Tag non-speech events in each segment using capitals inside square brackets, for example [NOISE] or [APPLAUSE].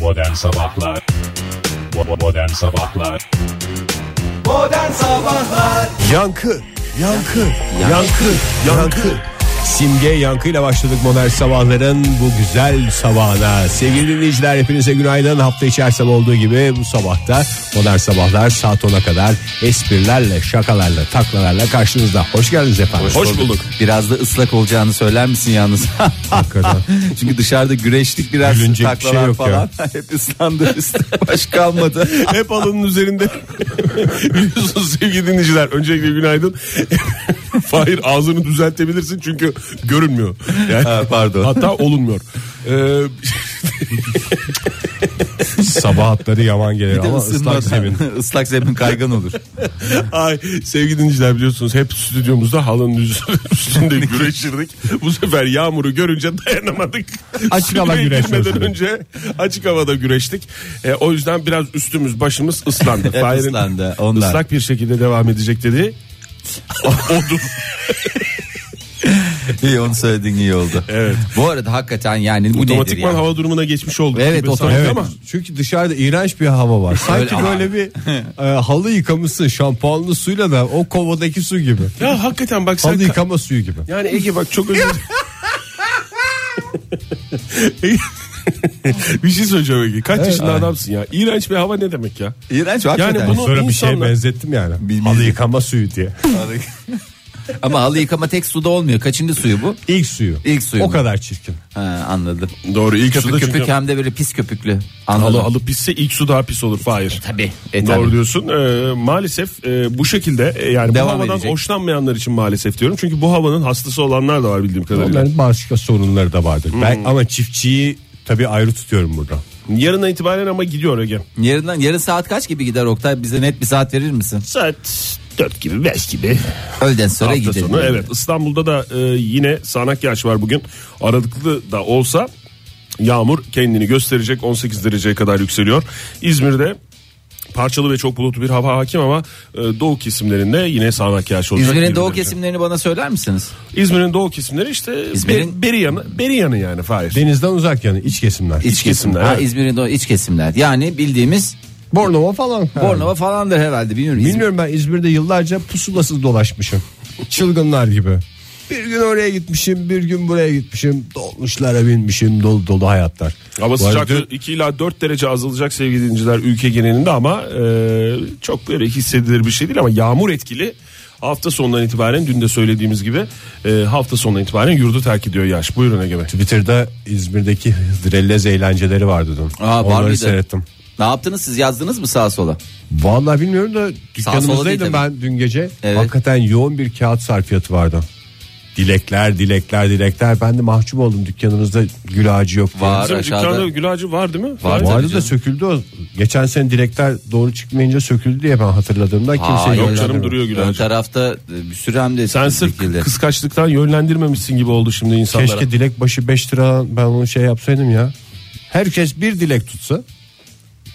Modern Sabahlar Bo- Modern Sabahlar Modern Sabahlar Yankı, yankı, yankı, yankı. Simge yankıyla başladık modern sabahların bu güzel sabahına. Sevgili dinleyiciler hepinize günaydın. Hafta içi her sabah olduğu gibi bu sabahta modern sabahlar saat 10'a kadar esprilerle, şakalarla, taklalarla karşınızda. Hoş geldiniz efendim. Biraz da ıslak olacağını söyler misin yalnız? [LAUGHS] Hakikaten. Çünkü dışarıda güreştik biraz Gülünecek bir taklalar şey yok falan. [LAUGHS] Hep ıslandı üstü [LAUGHS] baş kalmadı. Hep alının üzerinde. Biliyorsunuz sevgili dinleyiciler. Öncelikle günaydın. [LAUGHS] Fahir ağzını düzeltebilirsin çünkü görünmüyor. Yani Ha, pardon. Hatta olunmuyor. Ee, Sabah hatları yaman gelir ama ıslak zemin. [LAUGHS] ıslak zemin [LAUGHS] kaygan olur. Ay sevgili dinleyiciler biliyorsunuz hep stüdyomuzda halının üz- [LAUGHS] üstünde güreşirdik. Bu sefer yağmuru görünce dayanamadık. Açık hava Stüdyoya güreşi girmeden olsun. önce açık havada güreştik. E, o yüzden biraz üstümüz başımız ıslandı. [LAUGHS] Hep Fahir'in ıslandı, ondan. Islak bir şekilde devam edecek [LAUGHS] dedi. Oldu. İyi onu söyledin iyi oldu. Evet. Bu arada hakikaten yani bu nedir Otomatikman yani? hava durumuna geçmiş olduk. Evet, gibi otomatik- sanki Evet. ama Çünkü dışarıda iğrenç bir hava var. Sanki Öyle ama. böyle bir e, halı yıkamışsın şampuanlı suyla da o kovadaki su gibi. ya hakikaten bak sen Halı yıkama suyu gibi. Yani Ege bak çok özür [LAUGHS] bir şey söyleyeceğim Ege. Kaç yaşında adamsın ya? İğrenç bir hava ne demek ya? İğrenç hakikaten. Yani bunu- Sonra bir şeye insanlar- benzettim yani. Bilmiyorum. Halı yıkama suyu diye. Ama halı yıkama tek suda olmuyor. Kaçıncı suyu bu? İlk suyu. İlk suyu O mu? kadar çirkin. Ha, anladım. Doğru ilk Köpük suda köpük çünkü hem de böyle pis köpüklü. Anladım. halı halı pisse ilk su daha pis olur Fahir. Tabii. E, tabii. Doğru diyorsun. Ee, maalesef e, bu şekilde e, yani Devam bu havadan edecek. hoşlanmayanlar için maalesef diyorum. Çünkü bu havanın hastası olanlar da var bildiğim kadarıyla. Hmm. Onların başka sorunları da vardır. Ben ama çiftçiyi tabii ayrı tutuyorum burada. Yarına itibaren ama gidiyor Ege. Yarından yarı saat kaç gibi gider Oktay? Bize net bir saat verir misin? Saat 4 gibi 5 gibi. Öğleden sonra Hafta gidelim. sonu evet İstanbul'da da e, yine sağanak yağış var bugün. Aralıklı da olsa yağmur kendini gösterecek 18 dereceye kadar yükseliyor. İzmir'de parçalı ve çok bulutlu bir hava hakim ama e, doğu kesimlerinde yine sağanak yağış olacak. İzmir'in 20 doğu derece. kesimlerini bana söyler misiniz? İzmir'in doğu kesimleri işte İzmir'in- İzmir'in... beri yanı, beri yanı yani Fahir. Denizden uzak yani iç kesimler. İç kesimler, Ha, evet. İzmir'in doğu iç kesimler. Yani bildiğimiz Bornova falan. Bornova falandır herhalde bilmiyorum. İzmir- Bilmiyorum ben İzmir'de yıllarca pusulasız dolaşmışım. Çılgınlar gibi. Bir gün oraya gitmişim, bir gün buraya gitmişim. Dolmuşlara binmişim, dolu dolu hayatlar. Hava Bu sıcaklığı arada 2 ila 4 derece azalacak sevgili dinleyiciler ülke genelinde ama e, çok böyle hissedilir bir şey değil ama yağmur etkili. Hafta sonundan itibaren dün de söylediğimiz gibi e, hafta sonundan itibaren yurdu terk ediyor yaş. Buyurun Ege Bey. Twitter'da İzmir'deki Hıdrellez eğlenceleri vardı dün. Aa, var Onları mıydı? seyrettim. Ne yaptınız siz yazdınız mı sağa sola? Vallahi bilmiyorum da sola değil tabii. dükkanımızdaydım ben dün gece. Evet. Hakikaten yoğun bir kağıt sarfiyatı vardı. Dilekler, dilekler, dilekler. Ben de mahcup oldum dükkanınızda gül ağacı yok diye. Var. Bizim aşağıda- dükkanda gül ağacı var değil mi? Var. Bu Tabii arada da canım. söküldü o. Geçen sene dilekler doğru çıkmayınca söküldü diye ben hatırladığımda kimse Hayır. yok canım, duruyor Gül Ön Ağacı. tarafta e, bir sürü hem de Sen sırf dikildi. kıskaçlıktan yönlendirmemişsin gibi oldu şimdi insanlara. Keşke dilek başı 5 lira ben onu şey yapsaydım ya. Herkes bir dilek tutsa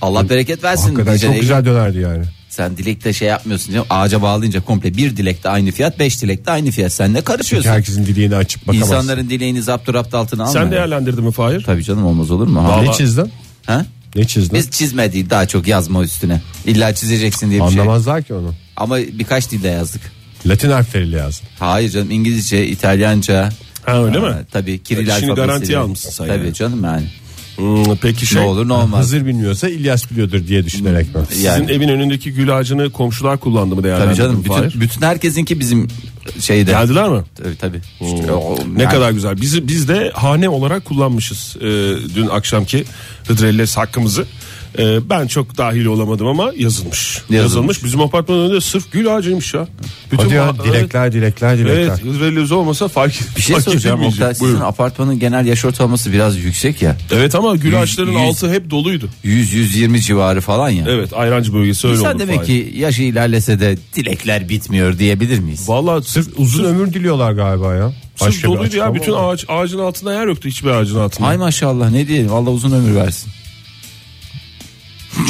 Allah bereket versin. hakikaten diyeceksin. çok güzel dönerdi yani. Sen dilekte şey yapmıyorsun canım. Ağaca bağlayınca komple bir dilekte aynı fiyat, beş dilekte aynı fiyat. Sen ne Çünkü karışıyorsun? herkesin dileğini açıp bakamazsın. İnsanların dileğini zapturapt altına alma. Sen değerlendirdin mi Fahir? Tabii canım olmaz olur mu? Ha? Ne çizdin? Ha? Ne çizdin? Biz çizme değil daha çok yazma üstüne. İlla çizeceksin diye bir şey. Anlamazlar ki onu. Ama birkaç dilde yazdık. Latin harfleriyle yazdın. Hayır canım İngilizce, İtalyanca. Ha öyle mi? Tabii Kiril İşini alfabesiyle. garantiye almışsın sen Tabii yani. canım yani. Hmm, peki şey. Ne olur ne olmaz. Hazır bilmiyorsa İlyas biliyordur diye düşünerek ben. Ya- Sizin yani. evin önündeki gül ağacını komşular kullandı mı değerlendirdin Tabii canım Fahir? bütün, bütün herkesinki bizim şeyde. Geldiler mi? Tabii tabii. İşte o- Ne yani- kadar güzel. Bizi biz de hane olarak kullanmışız e, dün akşamki hıdrellez hakkımızı. E, ben çok dahil olamadım ama yazılmış. Yazılmış. Bizim apartmanın önünde sırf gül ağacıymış ya. Bütün Hadi ya ha- dilekler dilekler dilekler. Evet, hıdrellez olmasa fark Bir şey fark soracağım edilmeyecek. Oktay sizin Buyurun. apartmanın genel yaş ortalaması biraz yüksek ya. Evet ama gül Yüz- ağaçlarının yüz- altı hep doluydu. 100-120 civarı falan ya. Evet ayrancı bölgesi öyle İnsan oldu. demek Fahir. ki yaşı ilerlese de dilekler bitmiyor diyebilir miyiz? Vallahi sırf Uzun ömür diliyorlar galiba ya. sırf bir doluydu ya açıklama bütün var. ağaç ağacın altında yer yoktu hiçbir ağacın altında. Hay maşallah ne diyelim Allah uzun ömür versin.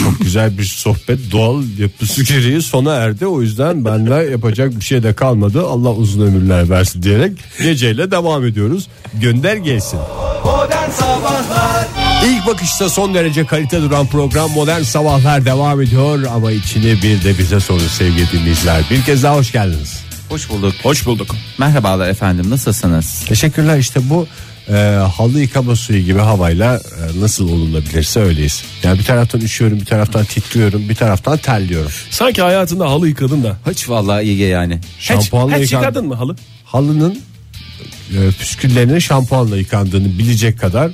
Çok güzel bir sohbet doğal yapısı gereği sona erdi. O yüzden bende yapacak bir şey de kalmadı. Allah uzun ömürler versin diyerek geceyle devam ediyoruz. Gönder gelsin. Modern Sabahlar İlk bakışta son derece kalite duran program Modern Sabahlar devam ediyor ama içini bir de bize sorun sevgili dinleyiciler. Bir kez daha hoş geldiniz. Hoş bulduk. Hoş bulduk. Merhabalar efendim nasılsınız? Teşekkürler işte bu e, halı yıkama suyu gibi havayla e, nasıl olunabilirse öyleyiz. Yani bir taraftan üşüyorum bir taraftan titriyorum bir taraftan terliyorum. Sanki hayatında halı yıkadın da. Hiç vallahi iyi yani. Şampuanla hiç, hiç yıkan- yıkadın mı halı? Halının e, püsküllerinin şampuanla yıkandığını bilecek kadar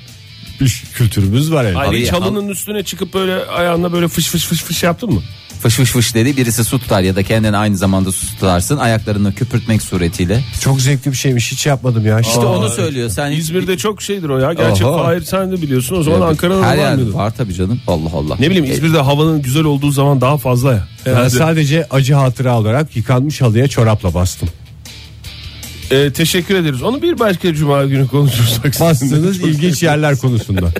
bir kültürümüz var yani. Hayır, Halıyı- hiç halının üstüne çıkıp böyle ayağına böyle fış fış fış fış yaptın mı? Fış fış fış dedi birisi su tutar ya da kendini aynı zamanda su tutarsın ayaklarını küpürtmek suretiyle. Çok zevkli bir şeymiş hiç yapmadım ya. İşte Aa, onu söylüyor sen. hiç- İzmir'de çok şeydir o ya. Gerçi Oho. Fahir sen de biliyorsun. O zaman Tabii. Ankara'da da var Her yerde mıydı? var E- tabii canım. Allah Allah. Ne bileyim İzmir'de havanın güzel olduğu zaman daha fazla ya. Ben Herhalde. sadece acı hatıra olarak yıkanmış halıya [LAUGHS] çorapla bastım. Ee, teşekkür ederiz. Onu bir başka cuma günü konuşursak. Bastığınız ilginç yerler konusunda.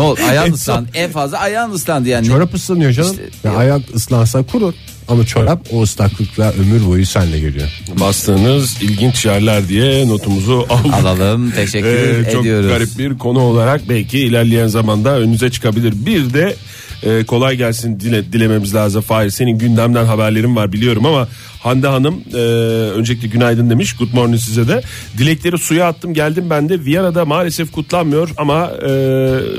[LAUGHS] oldu? Ayağın ıslandı. En fazla ayağın ıslandı yani. Çorap ıslanıyor canım. İşte- Ya ayak ıslansa kurur. Ama çorap o ıslaklıkla ömür boyu senle geliyor. Bastığınız ilginç yerler diye notumuzu aldık. Alalım. Teşekkür Ee, çok ediyoruz. garip bir konu olarak belki ilerleyen zamanda önünüze çıkabilir. Bir de e, kolay gelsin dile, dilememiz lazım. Fahir senin gündemden haberlerin var biliyorum ama Hande Hanım e, öncelikle günaydın demiş. Good morning size de. Dilekleri suya attım geldim ben de. Viyana'da maalesef kutlanmıyor ama e,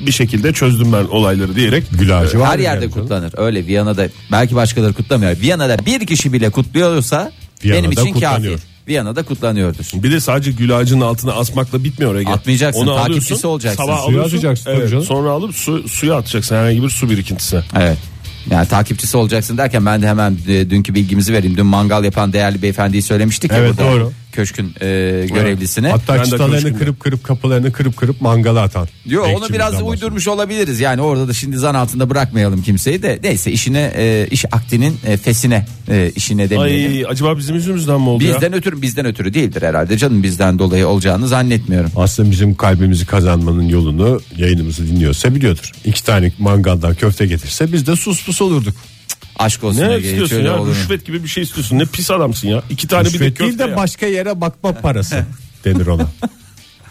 bir şekilde çözdüm ben olayları diyerek. Gül ağacı var. Her mı yerde yani canım? kutlanır. Öyle Viyana'da belki başkaları kutlamıyor. Viyana'da bir kişi bile kutluyorsa benim Viyana'da için kutlanıyor. kafi. Viyana'da kutlanıyordur. E, Bir de sadece gül ağacının altına asmakla bitmiyor Ege. Atmayacaksın, Onu alıyorsun, takipçisi olacaksın. Sabah Suya alıyorsun, atacaksın tabii evet, canım. sonra alıp su, suya atacaksın herhangi bir su birikintisine. Evet. Yani takipçisi olacaksın derken ben de hemen e, dünkü bilgimizi vereyim. Dün mangal yapan değerli beyefendiyi söylemiştik ya Evet, burada. doğru. Köşkün e, görevlisine. Hatta Ben de çıtalarını konuşayım kırıp kırıp kapılarını kırıp kırıp mangala atan. Yo, onu Bekçimizden biraz bahsediyorum. uydurmuş olabiliriz. Yani orada da şimdi zan altında bırakmayalım kimseyi de. Neyse işine e, iş aktinin e, fesine e, işine demeyelim. Ay acaba bizim yüzümüzden mi oldu ya? Bizden ötürü bizden ötürü değildir herhalde canım bizden dolayı olacağını zannetmiyorum. Aslında bizim kalbimizi kazanmanın yolunu yayınımızı dinliyorsa biliyordur. İki tane mangaldan köfte getirse biz de sus pus olurduk. Aşk olsun Ne Ege, hiç istiyorsun öyle ya? olur mu? Rüşvet gibi bir şey istiyorsun. Ne pis adamsın ya. İki tane bir de Rüşvet değil köfte de ya. başka yere bakma parası [LAUGHS] denir ona.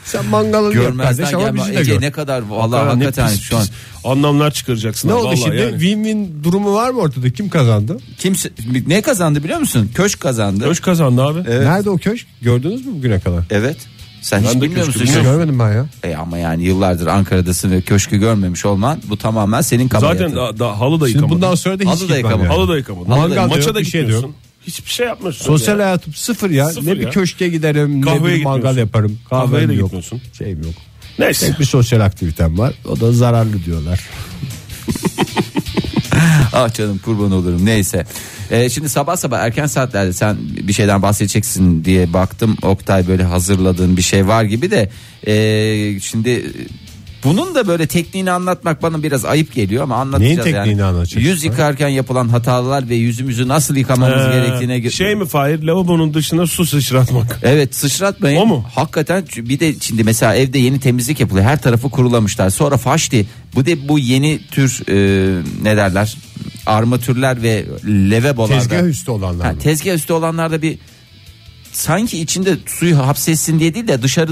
Sen mangalını yap Görmezden kardeş ama gelme. bizi de Ece gör. ne kadar Ya ne vallahi hakikaten pis şu an pis Anlamlar çıkaracaksın. Ne ha, oldu vallahi şimdi? yani. Win-win durumu var mı ortada? Kim kazandı? kimse ne kazandı biliyor musun? Köşk kazandı. Köşk kazandı abi. Nerede o köşk? Gördünüz mü bugüne kadar? Evet. Sen de hiç bilmiyor köşkü musun? bilmiyorum. Köşk- Görmedim ben ya. E ama yani yıllardır Ankara'dasın ve köşkü görmemiş olman bu tamamen senin kabahatin. Zaten da, da, halı da Şimdi yıkamadın. bundan sonra da hiç Halı da gitmem yıkama. yani. Halı da yıkamadın. Halı da yok, Maça da bir şey de gitmiyorsun. Hiçbir şey yapmıyorsun. Sosyal ya. hayatım sıfır ya. Sıfır ne ya. bir köşke giderim ne Kahveye bir mangal gitmiyorsun. yaparım. Kahveye Kahvem de yok. gitmiyorsun. Şeyim yok. Neyse. Tek bir sosyal aktivitem var. O da zararlı diyorlar. Ah canım kurban olurum neyse. Ee, şimdi sabah sabah erken saatlerde sen bir şeyden bahsedeceksin diye baktım. Oktay böyle hazırladığın bir şey var gibi de. ee, şimdi bunun da böyle tekniğini anlatmak bana biraz ayıp geliyor ama anlatacağız Neyin tekniğini yani. anlatacaksın? Yüz yıkarken yapılan hatalar ve yüzümüzü nasıl yıkamamız Ee, gerektiğine şey mi Fahir lavabonun dışına su sıçratmak. Evet sıçratmayın. O mu? Hakikaten ç- bir de şimdi mesela evde yeni temizlik yapılıyor. Her tarafı kurulamışlar. Sonra faşti. Bu de bu yeni tür e, ne derler? Armatürler ve levebolarda. Tezgah üstü olanlar Ha, mı? tezgah üstü olanlarda bir sanki içinde suyu hapsetsin diye değil de dışarı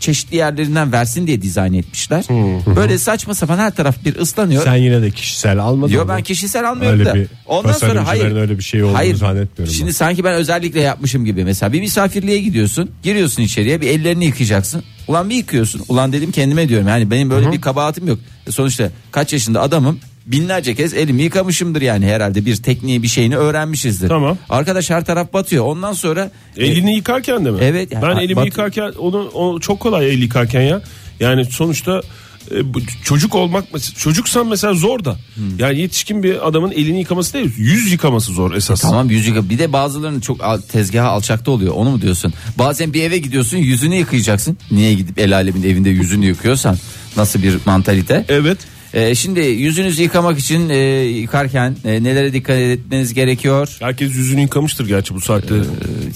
çeşitli yerlerinden versin diye dizayn etmişler. Hmm. Böyle saçma sapan her taraf bir ıslanıyor. Sen yine de kişisel almadın Yo mı? ben kişisel almıyorum Öyle da. bir Ondan sonra hayır. tasarımcıların öyle bir şey olduğunu zannetmiyorum Şimdi ben. sanki ben özellikle yapmışım gibi. Mesela bir misafirliğe gidiyorsun. Giriyorsun içeriye bir ellerini yıkayacaksın. Ulan bir yıkıyorsun. Ulan dedim kendime diyorum. Yani benim böyle bir kabahatim yok. E Sonuçta kaç yaşında adamım. Binlerce kez elimi yıkamışımdır yani herhalde bir tekniği bir şeyini öğrenmişizdir. Tamam. Arkadaş her taraf batıyor. Ondan sonra E, Elini yıkarken de mi? Evet, yani- ben Ha, elimi bak- yıkarken onu, onu çok kolay el yıkarken ya. Yani sonuçta e, bu çocuk olmak çocuksan mesela zor da. Hmm. Yani yetişkin bir adamın elini yıkaması değil, yüz yıkaması zor esas. Tamam yüz yıka. Bir de bazılarının çok al- tezgahı alçakta oluyor. Onu mu diyorsun? Bazen bir eve gidiyorsun yüzünü yıkayacaksın. Niye gidip el alemin evinde yüzünü yıkıyorsan? Nasıl bir mantalite? Evet. Ee, şimdi yüzünüzü yıkamak için e, yıkarken e, nelere dikkat etmeniz gerekiyor? Herkes yüzünü yıkamıştır gerçi bu saatte. Ee,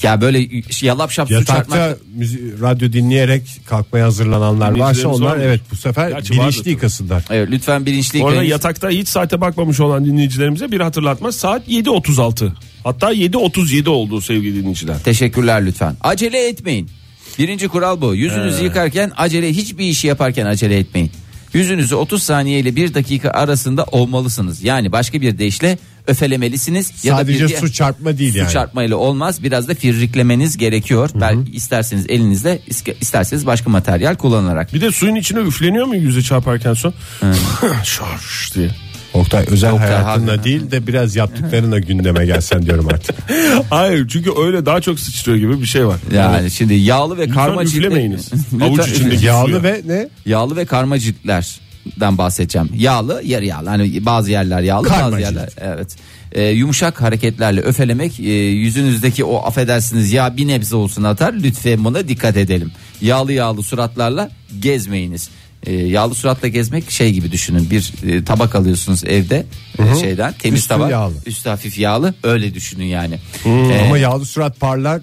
Ya böyle y- yalap şap su Yatakta çarpmak. müzi- radyo dinleyerek kalkmaya hazırlananlar varsa Dinleyicilerimiz onlar var mı? evet bu sefer Gerçi vardır bilinçli tabii. yıkasınlar. Evet, lütfen bilinçli Bu arada yıkayın. yatakta hiç saate bakmamış olan dinleyicilerimize bir hatırlatma. Saat 7.36. Hatta 7.37 oldu sevgili dinleyiciler. Teşekkürler lütfen. Acele etmeyin. Birinci kural bu. Yüzünüzü yıkarken acele hiçbir işi yaparken acele etmeyin. Yüzünüzü 30 saniye ile 1 dakika arasında olmalısınız. Yani başka bir deyişle öfelemelisiniz. ya da Sadece bir diğer- su çarpma değil su yani. çarpmayla olmaz. Biraz da firriklemeniz gerekiyor. Belki isterseniz elinizle, iske- isterseniz başka materyal kullanarak. Bir de suyun içine üfleniyor mu yüze çarparken son? [LAUGHS] Şarj diye. Oktay özel Oktay, hayatında hakikaten. değil de biraz yaptıklarına gündeme gelsen diyorum artık. Hayır çünkü öyle daha çok sıçrıyor gibi bir şey var. Yani şimdi yağlı ve Lütfen karma [LAUGHS] üflemeyiniz. Lütfen Avuç üfle- içindeki Yağlı suya. ve ne? Yağlı ve karma ciltlerden bahsedeceğim. Yağlı, yarı yağlı. Hani bazı yerler yağlı, Karma bazı cilt. yerler evet. Ee, yumuşak hareketlerle öfelemek e, yüzünüzdeki o affedersiniz ya bir nebze olsun atar. Lütfen buna dikkat edelim. Yağlı yağlı suratlarla gezmeyiniz. Ee, yağlı suratla gezmek şey gibi düşünün. Bir e, tabak alıyorsunuz evde e, şeyden temiz Üstü tabak. yağlı. Üstü hafif yağlı. Öyle düşünün yani. Ee, Ama yağlı surat parlar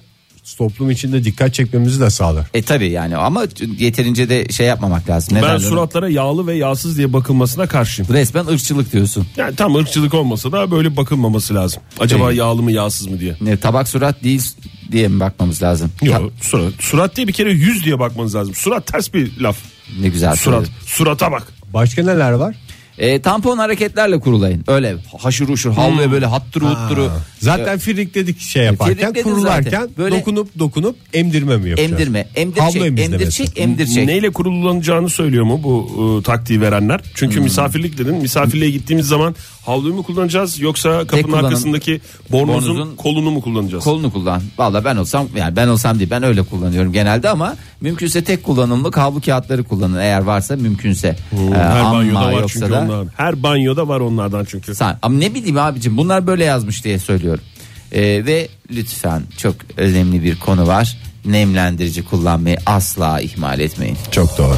toplum içinde dikkat çekmemizi de sağlar. e tabi yani ama yeterince de şey yapmamak lazım. Ne Ben derler ona? suratlara yağlı ve yağsız diye bakılmasına karşıyım. Resmen ırkçılık diyorsun. Yani tam ırkçılık olmasa da böyle bakılmaması lazım. Acaba yağlı mı yağsız mı diye. Ne, E, tabak surat değil diye mi bakmamız lazım? Ta- Yok surat. Surat diye bir kere yüz diye bakmanız lazım. Surat ters bir laf. ne güzel Surat. söyledin. Surata bak. Başka neler var? E, tampon hareketlerle kurulayın. Öyle haşır uşur havluya Hmm. böyle hatturu hutturu. Zaten firik dedik şey yaparken firrikledin kurularken Ee, zaten. Böyle- dokunup dokunup emdirme mi yapacağız? Emdirme, Havlu emdirçek, emizlemesi. emdirçek, emdirçek. Neyle kurulanacağını söylüyor mu bu e, taktiği verenler? Çünkü Hmm. misafirlik dedin. Misafirliğe gittiğimiz zaman havluyu mu kullanacağız yoksa kapının kullanım- arkasındaki bornozun, bornozun- kolunu mu kullanacağız? Kolunu kullan. Valla ben olsam yani ben olsam değil ben öyle kullanıyorum genelde ama mümkünse tek kullanımlık havlu kağıtları kullanın eğer varsa mümkünse. Ee, Her ama banyoda var yoksa çünkü da- onlar. Her banyoda var onlardan çünkü. Sen- ama ne bileyim abicim bunlar böyle yazmış diye söylüyorum. Ee, ve lütfen çok önemli bir konu var. Nemlendirici kullanmayı asla ihmal etmeyin. Çok doğru.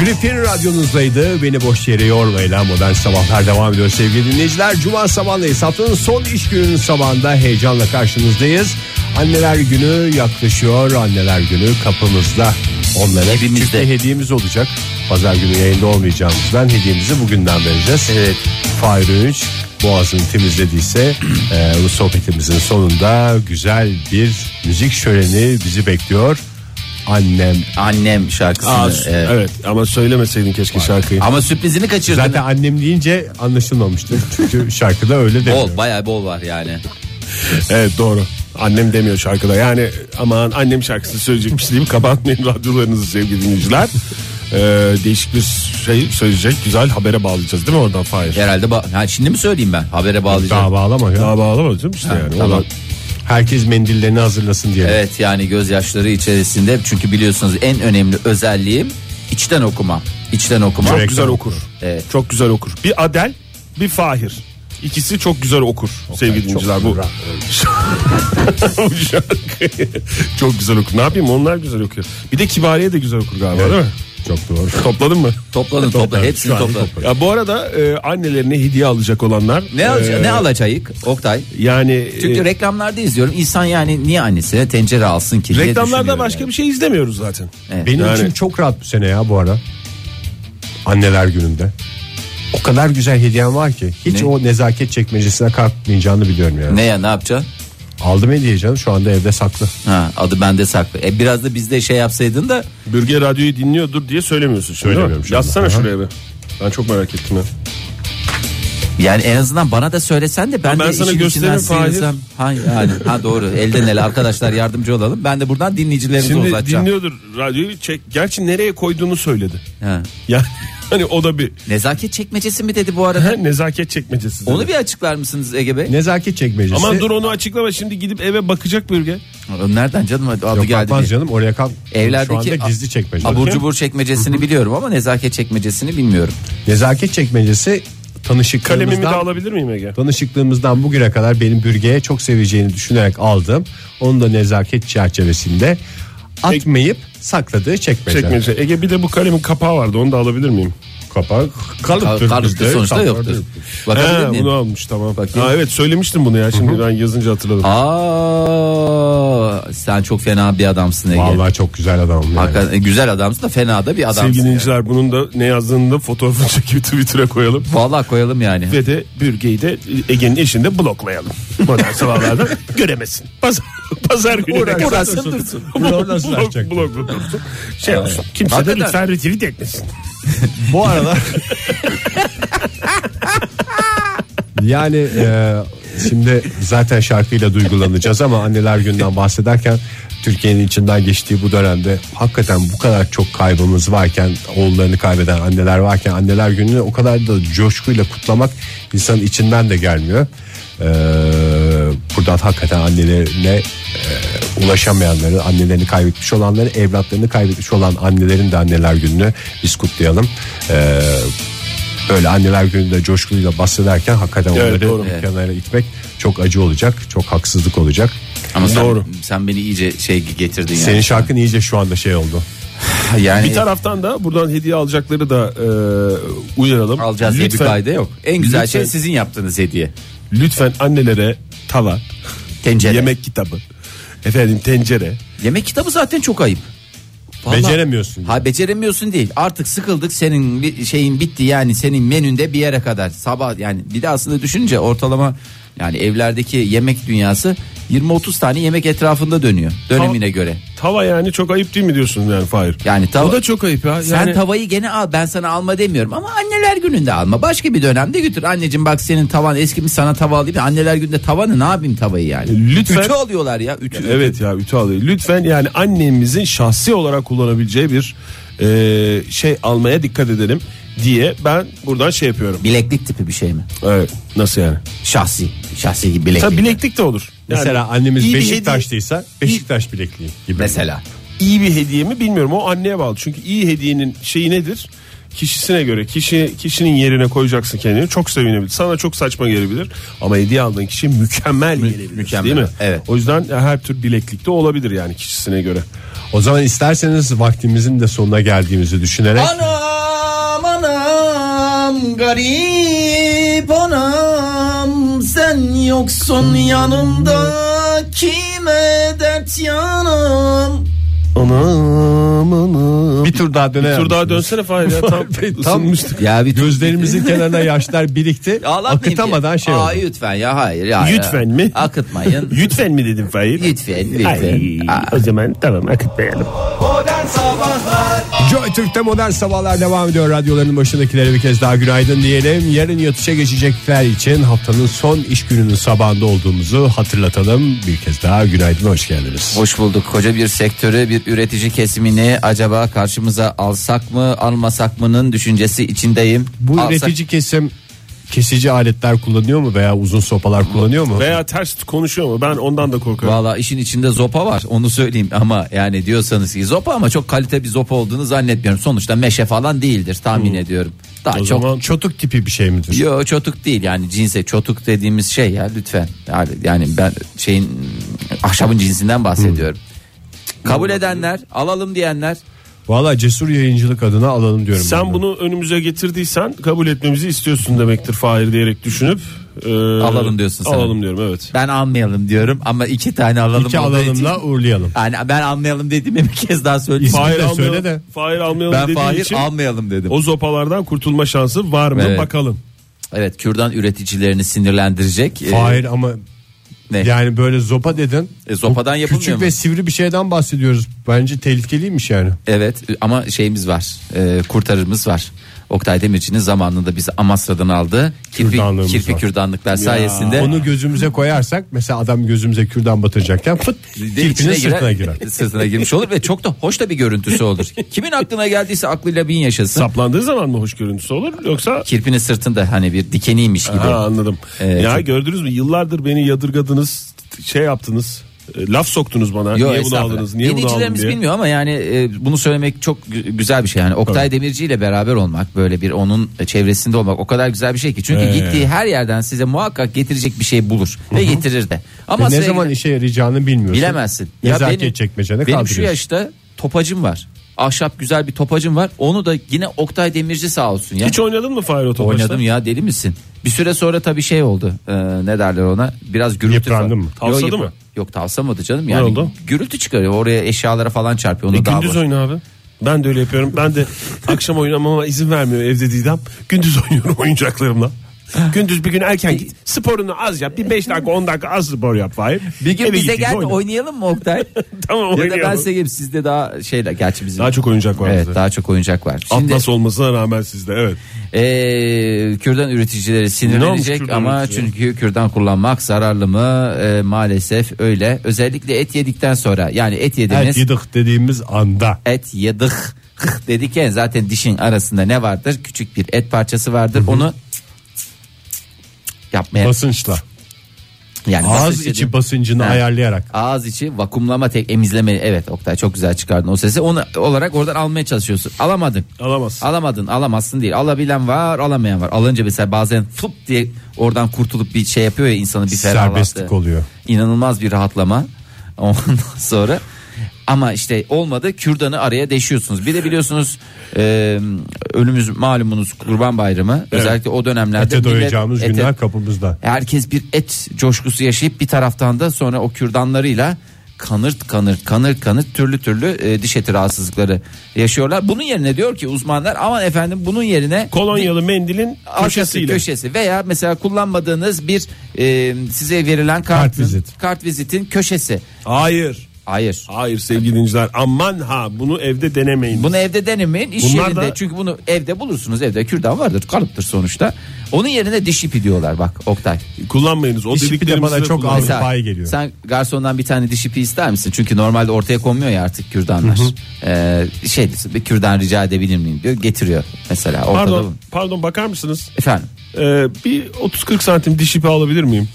Griffin radyonuzdaydı. Beni boş yere yormayla modern sabahlar devam ediyor sevgili dinleyiciler. Cuma sabahındayız. Haftanın son iş gününün sabahında heyecanla karşınızdayız. Anneler günü yaklaşıyor. Anneler günü kapımızda. Onlara Hepimizde. küçük bir hediyemiz olacak. Pazar günü yayında olmayacağımızdan hediyemizi bugünden vereceğiz. Evet. Fahir Öğünç boğazını temizlediyse e, bu sohbetimizin sonunda güzel bir müzik şöleni bizi bekliyor. Annem Annem şarkısını. Aa, e, evet. ama söylemeseydin keşke şarkıyı. Ama sürprizini kaçırdın. Zaten annem deyince anlaşılmamıştır. Çünkü şarkıda öyle demiyor. bol bayağı bol var yani. Evet doğru. Annem demiyor şarkıda. Yani aman annem şarkısını söyleyecekmiş deyip kapatmayın [LAUGHS] radyolarınızı sevgili dinleyiciler. Ee, değişik bir şey söyleyecek güzel habere bağlayacağız değil mi oradan Fahir? Herhalde ba- ha, şimdi mi söyleyeyim ben? Habere bağlayacağım. Daha bağlama ya. Daha bağlamadım işte yani. tamam. Oradan- Herkes mendillerini hazırlasın diye. Evet yani gözyaşları içerisinde çünkü biliyorsunuz en önemli özelliğim içten okuma. İçten okuma. Çok güzel okur. Evet. Çok güzel okur. Bir Adel, bir Fahir. İkisi çok güzel okur sevgili dinleyiciler bu. [LAUGHS] Bu şarkı çok güzel okur. Ne yapayım onlar güzel okuyor. Bir de Kibariye de güzel okur galiba değil mi? Çok doğru. Topladın mı? Toplanın topla hepsini topla. Ya bu arada e, annelerine hediye alacak olanlar e, Ne, alaca- ne alacağız Oktay? yani Çünkü Ee, e, reklamlarda izliyorum. İnsan yani niye annesine tencere alsın ki? diye reklamlarda düşünüyorum başka yani. bir şey izlemiyoruz zaten. Evet. Benim Yani- için çok rahat bu sene ya bu ara. Anneler gününde. O kadar güzel hediyem var ki. Hiç Ne? o nezaket çekmecesine kalkmayacağını biliyorum yani. Ne ya ne yapacaksın? Aldım hediye canım şu anda evde saklı. Ha, adı bende saklı. E, biraz da bizde şey yapsaydın da Bürge radyoyu dinliyordur diye söylemiyorsun. Şimdi, Söylemiyorum değil mi? şu anda. Yazsana Aha. şuraya bir. Ben çok merak ettim. Ya. Yani en azından bana da söylesen de ben, ben de sana işin içinden gösteririm, Fahir. sıyrılsam. Ha, yani, ha doğru elden ele arkadaşlar yardımcı olalım. Ben de buradan dinleyicilerimize Şimdi uzatacağım. dinliyordur radyoyu çek. Gerçi nereye koyduğunu söyledi. [LAUGHS] Ha. Yani hani o da bir [LAUGHS] Nezaket çekmecesi mi dedi bu arada? Ha, nezaket çekmecesi. dedi. Onu bir açıklar mısınız Ege Bey? Nezaket çekmecesi. Aman dur onu açıklama şimdi gidip eve bakacak bürge. Nereden canım adı Yok geldi. bakmaz bir- canım oraya kalk. şu Evlerdeki anda gizli çekmece. Abur cubur [LAUGHS] çekmecesini biliyorum ama nezaket çekmecesini bilmiyorum. Nezaket çekmecesi Kalemimi de tanışıklığımızdan alabilir miyim Ege? Tanışıklığımızdan bugüne kadar benim bürgeye çok seveceğini düşünerek aldım. Onu da nezaket çerçevesinde atmayıp sakladığı çekmece. Çekmece. Ege bir de bu kalemin kapağı vardı onu da alabilir miyim? Kapak Kar- kalıptır. Karıştı bizde, sonuçta kaplar yoktur. değil. Bakabilir He, miyim? bunu almış tamam. Bakayım. Ha, evet söylemiştim bunu ya şimdi ben yazınca hatırladım. Aa, sen çok fena bir adamsın Ege. Vallahi çok güzel adam. Yani. Hakikaten güzel adamsın da fena da bir adamsın. Sevgili dinleyiciler bunun da ne yazdığını da fotoğrafını [LAUGHS] çekip Twitter'a koyalım. Vallahi koyalım yani. [LAUGHS] Ve de bürgeyi de Ege'nin eşini de bloklayalım. Modern sabahlarda göremesin. Pazar Pazar günü Uğraşsın uğraşsın dursun. Blok, blok, blok dursun. Şey olsun. Kimse de Hakikaten. lütfen retweet etmesin. [LAUGHS] Bu aralar Yani e, şimdi zaten şarkıyla duygulanacağız ama anneler günden bahsederken Türkiye'nin içinden geçtiği bu dönemde hakikaten bu kadar çok kaybımız varken oğullarını kaybeden anneler varken anneler gününü o kadar da coşkuyla kutlamak insanın içinden de gelmiyor. E, buradan hakikaten annelerine e, ulaşamayanları annelerini kaybetmiş olanları evlatlarını kaybetmiş olan annelerin de anneler gününü biz kutlayalım. E, Böyle anneler gününde coşkuyla bahsederken hakikaten Evet, onları doğru. bir kenara itmek çok acı olacak. Çok haksızlık olacak. Ama sen, Doğru. sen beni iyice şey getirdin Senin yani. şarkın iyice şu anda şey oldu. [LAUGHS] yani Bir taraftan da buradan hediye alacakları da e, uyaralım. alacağız diye bir lütfen, kayda yok. En güzel şey Lütfen. sizin yaptığınız hediye. lütfen annelere tava, Tencere. Yemek, yemek kitabı, efendim tencere. kitabı zaten çok ayıp. Vallahi- Beceremiyorsun. Ha beceremiyorsun değil. Artık sıkıldık senin bi- şeyin bitti yani senin menünde bir yere kadar. Sabah yani bir de aslında düşünce ortalama yani evlerdeki yemek dünyası 20-30 tane yemek etrafında dönüyor dönemine göre. Tava yani çok ayıp değil mi diyorsun yani Fahir? Yani tava- O da çok ayıp ya. Sen Yani- tavayı gene al ben sana alma demiyorum ama anneler gününde alma başka bir dönemde götür anneciğim bak senin tavan eskimiş sana tava alayım anneler günde tavanı ne yapayım tavayı yani. E, Lütfen- Ütü alıyorlar ya ütü. ütü. Evet ya ütü alıyor. Lütfen yani annemizin şahsi olarak kullanabileceği bir e, şey almaya dikkat edelim diye ben buradan şey yapıyorum. Bileklik tipi bir şey mi? Evet. Nasıl yani? Şahsi şahsi gibi bileklik. Tabii bileklik de olur. Yani Mesela annemiz iyi bir Beşiktaşlıysa Beşiktaş bilekliği gibi. Mesela. iyi bir hediye mi bilmiyorum o anneye bağlı. Çünkü iyi hediyenin şeyi nedir? Kişisine göre kişi kişinin yerine koyacaksın kendini çok sevinebilir. Sana çok saçma gelebilir ama hediye aldığın kişi mükemmel gelebilir mükemmel, değil mi? evet. O yüzden her tür bileklik de olabilir yani kişisine göre. O zaman isterseniz vaktimizin de sonuna geldiğimizi düşünerek Anam anam garip anam sen yoksun yanımda kime dert yanım. Anam anam. bir tur daha dönelim. Bir tur daha dönsene Fahir ya [LAUGHS] tam, ısınmıştık. Ya bir Gözlerimizin kenarına yaşlar birikti. [LAUGHS] Ağlamayın akıtamadan diye. şey Aa, oldu. lütfen ya hayır ya. Lütfen mi? [LAUGHS] Akıtmayın. [LAUGHS] Lütfen mi dedim Fahir? lütfen Ay, lütfen. Aa, o zaman tamam akıtmayalım. Joy Türk'te modern sabahlar devam ediyor. Radyoların başındakilere bir kez daha günaydın diyelim. Yarın yatışa geçecekler için haftanın son iş gününün sabahında olduğumuzu hatırlatalım. Bir kez daha günaydın hoş geldiniz. Hoş bulduk. Koca bir sektörü, bir üretici kesimini acaba karşımıza alsak mı, almasak mı'nın düşüncesi içindeyim. Bu Alsak- üretici kesim kesici aletler kullanıyor mu veya uzun sopalar kullanıyor mu? Veya ters konuşuyor mu? Ben ondan da korkuyorum. Valla işin içinde zopa var onu söyleyeyim ama yani diyorsanız ki zopa ama çok kalite bir zopa olduğunu zannetmiyorum. Sonuçta meşe falan değildir tahmin ediyorum. Daha Hmm. o çok zaman çotuk tipi bir şey midir? Yo çotuk değil yani cinse çotuk dediğimiz şey ya lütfen. Yani, yani ben şeyin ahşabın cinsinden bahsediyorum. Hmm. Kabul edenler, alalım diyenler Valla cesur yayıncılık adına alalım diyorum. ben de. Sen bunu önümüze getirdiysen kabul etmemizi istiyorsun demektir Fahir diyerek düşünüp. e, Alalım diyorsun sen. Alalım diyorum evet. ben almayalım diyorum ama iki tane alalım. iki olduğu için- alalımla uğurlayalım. Yani ben almayalım dediğimi bir kez daha söyleyeyim. İsmi- Fahir de almayalım, söyle de. Fahir almayalım Ben dediği Fahir için almayalım dedim. o zopalardan kurtulma şansı var mı Evet. bakalım. Evet kürdan üreticilerini sinirlendirecek. Ee, Hayır ama ne? yani böyle zopa dedin. E, zopadan Bu yapılmıyor Küçük mu? ve sivri bir şeyden bahsediyoruz. Bence tehlikeliymiş yani. Evet ama şeyimiz var e, kurtarırımız var. Oktay Demirci'nin zamanında bizi Amasra'dan aldı. Kirpi, Kürdanlığımız kirpi var. kürdanlıklar sayesinde. Onu gözümüze koyarsak mesela adam gözümüze kürdan batıracakken fıt de kirpinin içine sırtına girer. [LAUGHS] Sırtına girmiş olur ve çok da hoş da bir görüntüsü olur. Kimin aklına geldiyse aklıyla bin yaşasın. Saplandığı zaman mı hoş görüntüsü olur yoksa Kirpinin sırtında hani bir dikeniymiş gibi. Ha, anladım. Evet. ya gördünüz mü yıllardır beni yadırgadınız şey yaptınız e, laf soktunuz bana Yo, niye bunu estağfurullah. aldınız niye bunu aldın Dinleyicilerimiz diye. bilmiyor ama yani e, bunu söylemek çok gü- güzel bir şey. Yani Oktay Demirci ile beraber olmak böyle bir onun e, çevresinde olmak o kadar güzel bir şey ki. Çünkü Ee. gittiği her yerden size muhakkak getirecek bir şey bulur ve getirir de. Ama E, Ve E, ne size- zaman işe yarayacağını bilmiyorsun. bilemezsin. Nezaket çekmecene benim şu kaldırıyorsun. yaşta topacım var. Ahşap güzel bir topacım var. Onu da yine Oktay Demirci sağ olsun ya. Hiç oynadın mı Fahir o topaçla? Oynadım ya deli misin? Bir süre sonra tabii şey oldu. e, ne derler ona? Biraz gürültü. Yıprandın falan- mı? Yok, Tavsadı yıpra- mı? Yok tavsamadı canım. Yani oldu? Gürültü çıkarıyor. Oraya eşyalara falan çarpıyor. Onu E, daha gündüz boş- oyna abi. Ben [LAUGHS] de öyle yapıyorum. Ben de akşam oynamama izin vermiyor evde Didem. Gündüz oynuyorum oyuncaklarımla. Gündüz bir gün erken git. Sporunu az yap. Bir 5 dakika 10 dakika az spor yap Fahir. Bir gün Eve bize gidince gel de oyna. oynayalım mı Oktay? [LAUGHS] Tamam, ya da ben oynayalım. size gelip sizde daha şeyler gerçi bizim. Daha çok oyuncak var Evet bizde. daha çok oyuncak var. Şimdi Atlas olmasına rağmen sizde evet. eee, kürdan üreticileri Ne olmuş sinirlenecek kürdan ama üreticileri? çünkü kürdan kullanmak zararlı mı? Eee, maalesef öyle. Özellikle et yedikten sonra yani et yediniz. Et yedik dediğimiz anda. et yedik dedik ya zaten dişin arasında ne vardır? Küçük bir et parçası vardır. Onu yapmaya Basınçla. yani Ağız basınç içi dediğim- basıncını Ha. ayarlayarak. Ağız içi vakumlama tek emizleme evet Oktay çok güzel çıkardın o sesi onu olarak oradan almaya çalışıyorsun alamadın Alamazsın. alamadın alamazsın değil alabilen var alamayan var alınca mesela bazen fıp diye oradan kurtulup bir şey yapıyor ya insanı bir ferahlattı Serbestlik oluyor. inanılmaz bir rahatlama [LAUGHS] ondan sonra ama işte olmadı kürdanı araya deşiyorsunuz bir de biliyorsunuz e, ölümüz malumunuz kurban bayramı özellikle o dönemlerde Ete millet doyacağımız ete- günler kapımızda. Herkes bir et coşkusu yaşayıp bir taraftan da sonra o kürdanlarıyla kanırt kanırt kanırt kanırt türlü türlü e, diş eti rahatsızlıkları yaşıyorlar. Bunun yerine diyor ki uzmanlar aman efendim bunun yerine Kolonyalı mendilin arkası, köşesiyle. köşesi veya mesela kullanmadığınız bir e, size verilen kartın, vizit. kart vizitin köşesi. Hayır. Hayır. Hayır sevgili dinleyiciler aman ha bunu evde denemeyin. Bunu evde denemeyin iş Bunlar yerinde da- çünkü bunu evde bulursunuz evde kürdan vardır kalıptır sonuçta. Onun yerine diş ipi diyorlar bak Oktay. Kullanmayınız. O İş ipi de dediklerimizi bana de çok kullanmayın. az- Avrupa'ya geliyor. Sen garsondan bir tane diş ipi ister misin? Çünkü normalde ortaya konmuyor ya artık kürdanlar. Ee, şey diyorsun, bir kürdan rica edebilir miyim diyor getiriyor mesela. Ortada bu. Pardon, pardon bakar mısınız? Efendim. Ee, bir 30-40 santim diş ipi alabilir miyim?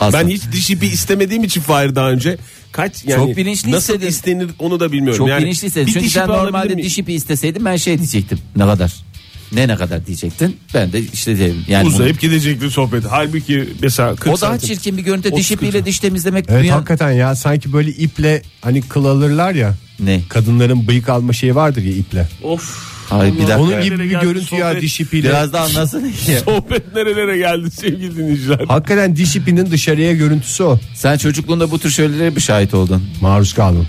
aslında Ben hiç diş ipi istemediğim için Fahir daha önce kaç yani Çok bilinçli nasıl hissedin. istenir onu da bilmiyorum. çok yani, bilinçlisin. bir Çünkü diş sen ipi alabilir normalde miyim? diş ipi isteseydin ben şey diyecektim. Ne kadar? Ne ne kadar diyecektin? Ben de işte derim. Yani uzayıp gidecekti sohbet. Halbuki mesela 40 bunu- o daha santim. çirkin bir görüntü. Diş 30 ipiyle diş temizlemek Evet dünyanın- hakikaten ya sanki böyle iple hani kıl alırlar ya. Ne? Kadınların bıyık alma şeyi vardır ya iple. Of. Ay, bir dakika. Onun Evet. gibi bir Nerelere görüntü geldi ya sohbet? diş ipiyle. Biraz daha anlasın ki. [LAUGHS] Sohbet nerelere geldi sevgili dinleyiciler. Hakikaten diş ipinin dışarıya görüntüsü o. Sen çocukluğunda bu tür şeylere bir şahit oldun. [LAUGHS] Maruz kaldım.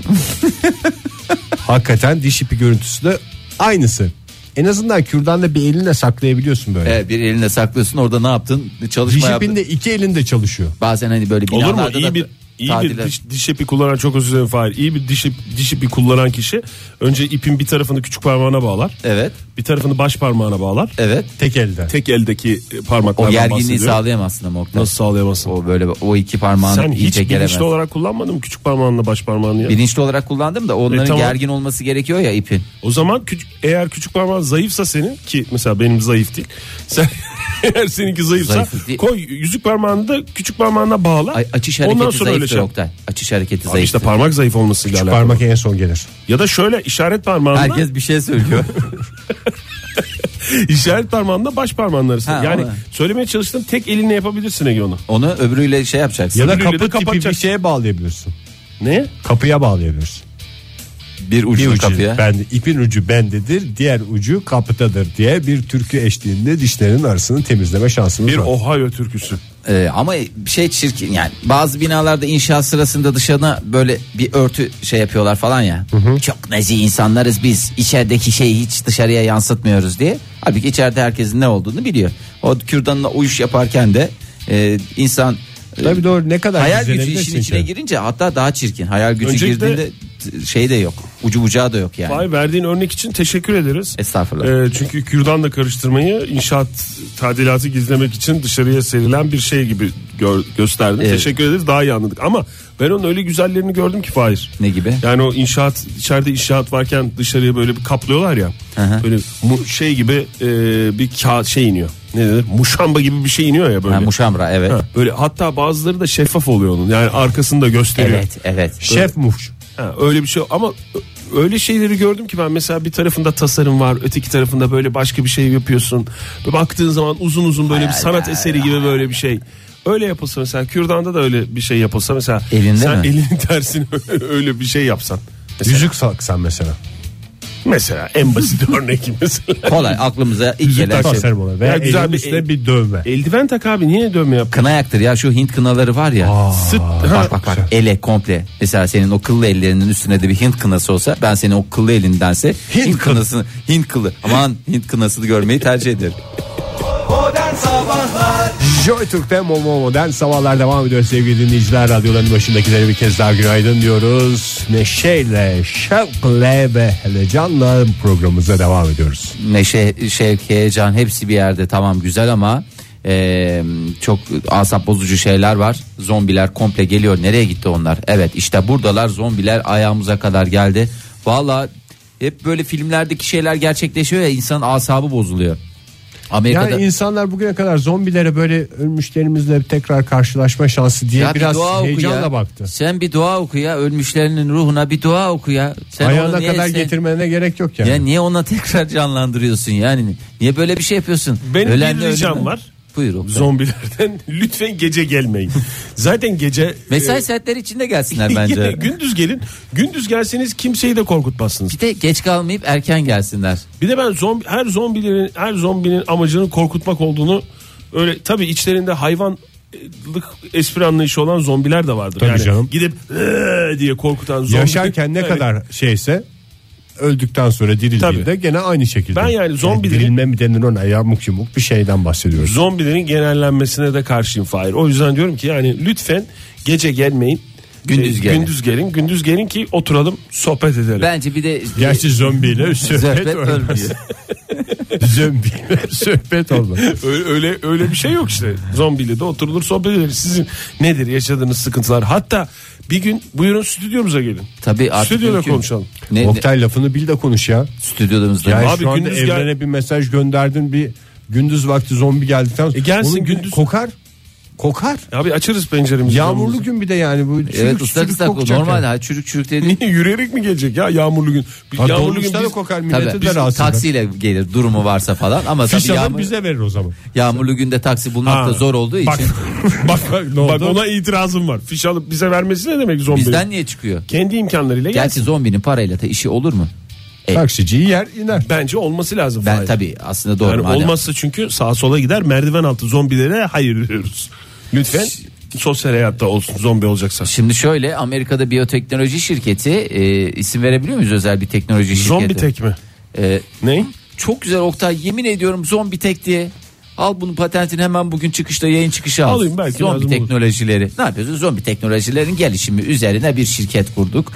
Hakikaten diş ipi görüntüsü de aynısı. En azından kürdanla bir elinle saklayabiliyorsun böyle. Evet, Ee, bir elinde saklıyorsun orada ne yaptın? diş Çalışma yaptın. ipin de iki elinde çalışıyor. Bazen hani böyle Olur binalarda mu? İyi da bir iyi bir tadilat- diş, diş ipi kullanan çok özür dilerim Fahir. İyi bir diş, ip- diş ipi kullanan kişi önce ipin bir tarafını küçük parmağına bağlar. Evet, Bir tarafını baş parmağına bağlar. evet. Tek elde. Tek eldeki e, O parmaklardan gerginliği bahsediyorum. sağlayamazsın ama Oktay. Nasıl sağlayamazsın? O böyle o iki parmağını Sen hiç iyice bilinçli gelemez. Olarak... olarak kullanmadın mı küçük parmağınla baş parmağını? ya? Bilinçli olarak kullandım da onların E, tamam. gergin olması gerekiyor ya ipin. O zaman küçük, eğer küçük parmağın zayıfsa senin ki mesela benim zayıf değil. [LAUGHS] Sen eğer seninki zayıfsa Zayıf değil. koy yüzük parmağını da küçük parmağına bağla. Ay, açış Ondan hareketi sonra öyle zayıftır şey. yap. Oktay. Açış hareketi Abi zayıftır. işte parmak zayıf olmasıyla Küçük alakalı. parmak en son gelir. Ya da şöyle işaret parmağında Herkes bir şey söylüyor. [LAUGHS] [LAUGHS] işaret parmağında baş parmağın arasında. Ha, yani o ne? söylemeye çalıştığım tek elinle yapabilirsin Ege onu. Onu öbürüyle şey yapacaksın. Ya da Öbürüyle de kapı tipi bir kapatacaksın. şeye bağlayabiliyorsun. Ne? Kapıya bağlayabiliyorsun. bir Bir ucunu ucu kapıya. ben ipin ucu bendedir, diğer ucu kapıdadır diye bir türkü eşliğinde dişlerin arasını temizleme şansımız Bir oh. var. Ohio türküsü. Ee, ama bir şey çirkin yani bazı binalarda inşaat sırasında dışarına böyle bir örtü şey yapıyorlar falan ya. Çok nezih insanlarız biz içerideki şeyi hiç dışarıya yansıtmıyoruz diye. Halbuki içeride herkesin ne olduğunu biliyor. O kürdanla uyuş yaparken de e, insan e, Tabii doğru ne kadar hayal gücü düzenebilirsin işin içine ki? girince hatta daha çirkin. Hayal gücü Öncelikle- girdiğinde t- şey de yok ucu bucağı da yok yani. Vay verdiğin örnek için teşekkür ederiz. E, Estağfurullah. Ee, çünkü kürdanla karıştırmayı inşaat tadilatı gizlemek için dışarıya serilen bir şey gibi gör, gösterdin. Evet. Teşekkür ederiz daha iyi anladık. Ama ben onun öyle güzellerini gördüm ki Fahir. Ne gibi? Yani o inşaat içeride inşaat varken dışarıya böyle bir kaplıyorlar ya. hı. Böyle mu, şey gibi e, bir kağıt şey iniyor. Ne denir? Muşamba gibi bir şey iniyor ya böyle. Ha, muşamra evet. Ha, böyle hatta bazıları da şeffaf oluyor onun. Yani arkasını da gösteriyor. Evet evet. Şef muş. Ha, öyle bir şey ama ö- öyle şeyleri gördüm ki ben mesela bir tarafında tasarım var öteki tarafında böyle başka bir şey yapıyorsun. Ve baktığın zaman uzun uzun böyle bir sanat eseri gibi böyle bir şey. Öyle yapılsa mesela kürdanda da öyle bir şey yapılsa mesela Elinde sen mi? elinin tersini [LAUGHS] öyle bir şey yapsan. Mesela, Yüzük saksan mesela. mesela en basit [LAUGHS] örnek mesela. Kolay aklımıza ilk Yüzük gelen şey. tasarım olur. Veya Ya güzel elin bir- üstüne bir dövme. Eldiven tak abi niye dövme yap? Kına yaktır ya şu Hint kınaları var ya. Sıt, ha, Bak bak bak ele komple. Mesela senin o kıllı ellerinin üstüne de bir Hint kınası olsa ben senin o kıllı elindense Hint, kınasını Hint kılı aman Hint kınasını görmeyi tercih ederim. Modern Joy Türk'te Momo Modern Sabahlar devam ediyor sevgili dinleyiciler. Radyoların başındakilere bir kez daha günaydın diyoruz. Neşeyle, şevkle ve helecanla programımıza devam ediyoruz. Neşe, şevk, heyecan hepsi bir yerde tamam güzel ama e, çok asap bozucu şeyler var. Zombiler komple geliyor. Nereye gitti onlar? Evet işte buradalar zombiler ayağımıza kadar geldi. Valla hep böyle filmlerdeki şeyler gerçekleşiyor ya insanın asabı bozuluyor. Amerika'da Yani insanlar bugüne kadar zombilere böyle ölmüşlerimizle tekrar karşılaşma şansı diye Ya bir biraz dua oku heyecanla ya. baktı. Sen bir dua oku ya ölmüşlerinin ruhuna bir dua oku ya. Sen onu Ayağına niye kadar sen- getirmene gerek yok yani. Ya niye ona [LAUGHS] tekrar canlandırıyorsun yani? Niye böyle bir şey yapıyorsun? Benim Ölenle bir ricam ölümden- var. Buyur. Oktay. Zombilerden [LAUGHS] lütfen gece gelmeyin. Zaten gece [LAUGHS] Mesai saatleri içinde gelsinler e, yine bence. gündüz gelin. Gündüz gelseniz kimseyi de korkutmazsınız. Bir de geç kalmayıp erken gelsinler. Bir de ben zombi her zombilerin her zombinin amacının korkutmak olduğunu öyle tabii içlerinde hayvanlık espri anlayışı olan zombiler de vardır. Tabii yani canım. gidip "Ee!" diye korkutan zombi. Yaşarken ne Evet. kadar şeyse öldükten sonra dirildiğinde Tabii. gene aynı şekilde. Ben yani zombi Yani dirilme mi denir ona yamuk yumuk bir şeyden bahsediyoruz. zombilerin genellenmesine de karşıyım Fahir. O yüzden diyorum ki yani lütfen gece gelmeyin. Gündüz Şey, gelin. Gündüz gelin. Gündüz gelin ki oturalım sohbet edelim. Bence bir de [LAUGHS] Gerçi zombiyle Zöhbet sohbet olmaz. ölmüyor. [LAUGHS] zombiyle sohbet olmaz. Öyle, öyle öyle bir şey yok işte. Zombiyle de oturulur sohbet edilir. Sizin nedir yaşadığınız sıkıntılar? Hatta bir gün buyurun stüdyomuza gelin. Tabii artık Stüdyoda mümkün. konuşalım. Ne, ne- Oktay lafını bil de konuş ya. stüdyomuzda. Yani Abi şu anda gündüz gel- evrene bir mesaj gönderdin bir gündüz vakti zombi geldikten sonra. E gelsin Oğlum, gündüz. Kokar. Kokar. Abi açarız penceremizi. Yağmurlu gün bir de yani bu çürük evet çürük ıslak ıslak kokacak normal yani. ha çürük çürük dedi. [LAUGHS] Niye yürüyerek mi gelecek ya yağmurlu gün? Bir Ha, yağmurlu gün dolmuşta da biz- kokar millete Tabii, de rahatsız eder. taksiyle gelir durumu varsa falan ama Fiş tabii alır yağmur, bize verir o zaman. yağmurlu günde taksi bulmak Ha. da zor olduğu için Bak, bak, bak, bak oldu? ona itirazım var. Fiş alıp bize vermesi ne demek zombi? bizden niye çıkıyor? Kendi imkanlarıyla Gerçi gelsin. zombinin parayla da işi olur mu? E- Taksiciyi yer iner. Bence olması lazım. Ben Fahir. tabii aslında doğru. Yani madem. olmazsa çünkü sağa sola gider merdiven altı zombilere hayır diyoruz. Lütfen sosyal hayatta olsun zombi olacaksa. Şimdi şöyle Amerika'da biyoteknoloji şirketi e, isim verebiliyor muyuz özel bir teknoloji şirketi? Zombi tek mi? E, Ne? çok güzel Oktay yemin ediyorum zombi tek diye. Al bunun patentini hemen bugün çıkışta yayın çıkışı al. Alayım belki lazım Zombi olur. teknolojileri. Ne yapıyorsun? Zombi teknolojilerin gelişimi üzerine bir şirket kurduk.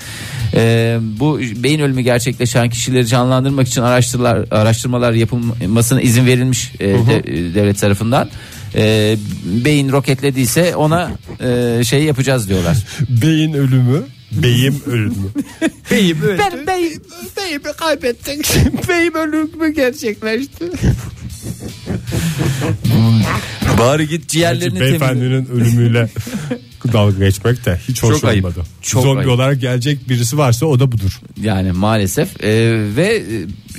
E, bu beyin ölümü gerçekleşen kişileri canlandırmak için araştırmalar, araştırmalar yapılmasına izin verilmiş e, de- e, devlet tarafından. E, beyin roketlediyse ona e, şey yapacağız diyorlar. [LAUGHS] Beyin ölümü. Beyim ölümü. Beyim öldü. Ben beyim. Beyimi kaybettik. [LAUGHS] Beyim ölümü gerçekleşti. [LAUGHS] Bari git ciğerlerini temizle. Beyefendinin [LAUGHS] ölümüyle dalga geçmek de hiç hoş Çok ayıp. olmadı. Çok Zombi ayıp. olarak gelecek birisi varsa o da budur. Yani maalesef Ee, ve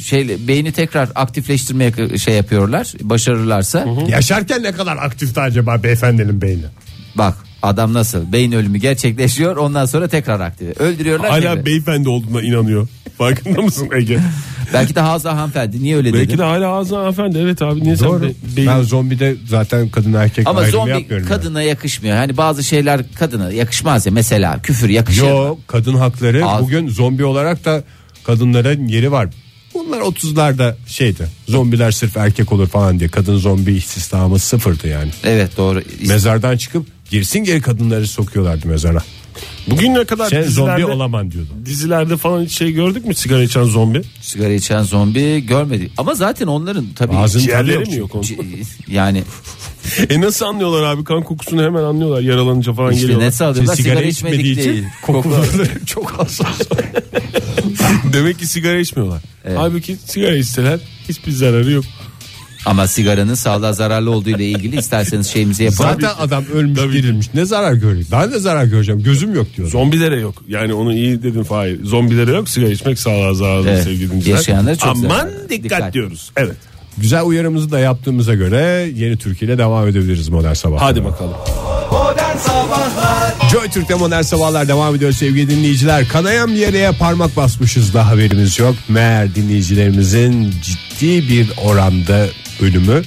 şey beyni tekrar aktifleştirmeye k- şey yapıyorlar. Başarırlarsa Yaşarken ne kadar aktifti acaba beyefendinin beyni? bak adam nasıl beyin ölümü gerçekleşiyor. Ondan sonra tekrar aktive. Öldürüyorlar. tekrar. Hala beyefendi olduğuna inanıyor. Farkında mısın Ege? Belki de Hazza hanımefendi niye öyle Belki dedi. de hala ağzına hanımefendi. Evet abi niye sen Doğru. be- beyin- Ben zombide zaten kadın erkek Ama ayrımı zombi yapmıyorum. ben. kadına yakışmıyor. Hani bazı şeyler kadına yakışmaz ya mesela küfür yakışır. Yo kadın hakları Az- bugün zombi olarak da kadınların yeri var. Bunlar 30'larda şeydi. Zombiler sırf erkek olur falan diye. Kadın zombi istihdamı sıfırdı yani. Evet doğru. Mezardan çıkıp girsin geri kadınları sokuyorlardı mezara. Bugüne kadar Sen dizilerde, zombi olaman diyordu. dizilerde falan hiç şey gördük mü sigara içen zombi? Sigara içen zombi görmedik. Ama zaten onların tabii Ağzının tadı Ciğerleri yok mi yok onun? C- yani E nasıl anlıyorlar abi kan kokusunu hemen anlıyorlar yaralanınca falan işte geliyorlar. Şey, ne sağlıyorlar Sigara sigara içmedik içmediği için değil. [LAUGHS] Kokuları çok hassas. Demek ki sigara içmiyorlar. Evet. Halbuki sigara içseler hiçbir zararı yok. Ama sigaranın sağlığa zararlı olduğu ile ilgili isterseniz şeyimizi yapalım. Zaten adam ölmüş dirilmiş. Ne zarar görüyor? Ben de zarar göreceğim. Gözüm yok diyor. Zombilere yok. Yani onu iyi dedin Fahir. Zombilere yok sigara içmek sağlığa zararlı Evet. sevgili dinleyiciler. Yaşayanlara çok Aman zararlı. dikkat, Dikkat. diyoruz. Evet. Güzel uyarımızı da yaptığımıza göre yeni Türkiye ile devam edebiliriz modern sabah. Hadi bakalım. Joy Türk'te modern sabahlar devam ediyor sevgili dinleyiciler. Kanayan bir yere parmak basmışız da haberimiz yok. Meğer dinleyicilerimizin ciddi bir oranda ölümü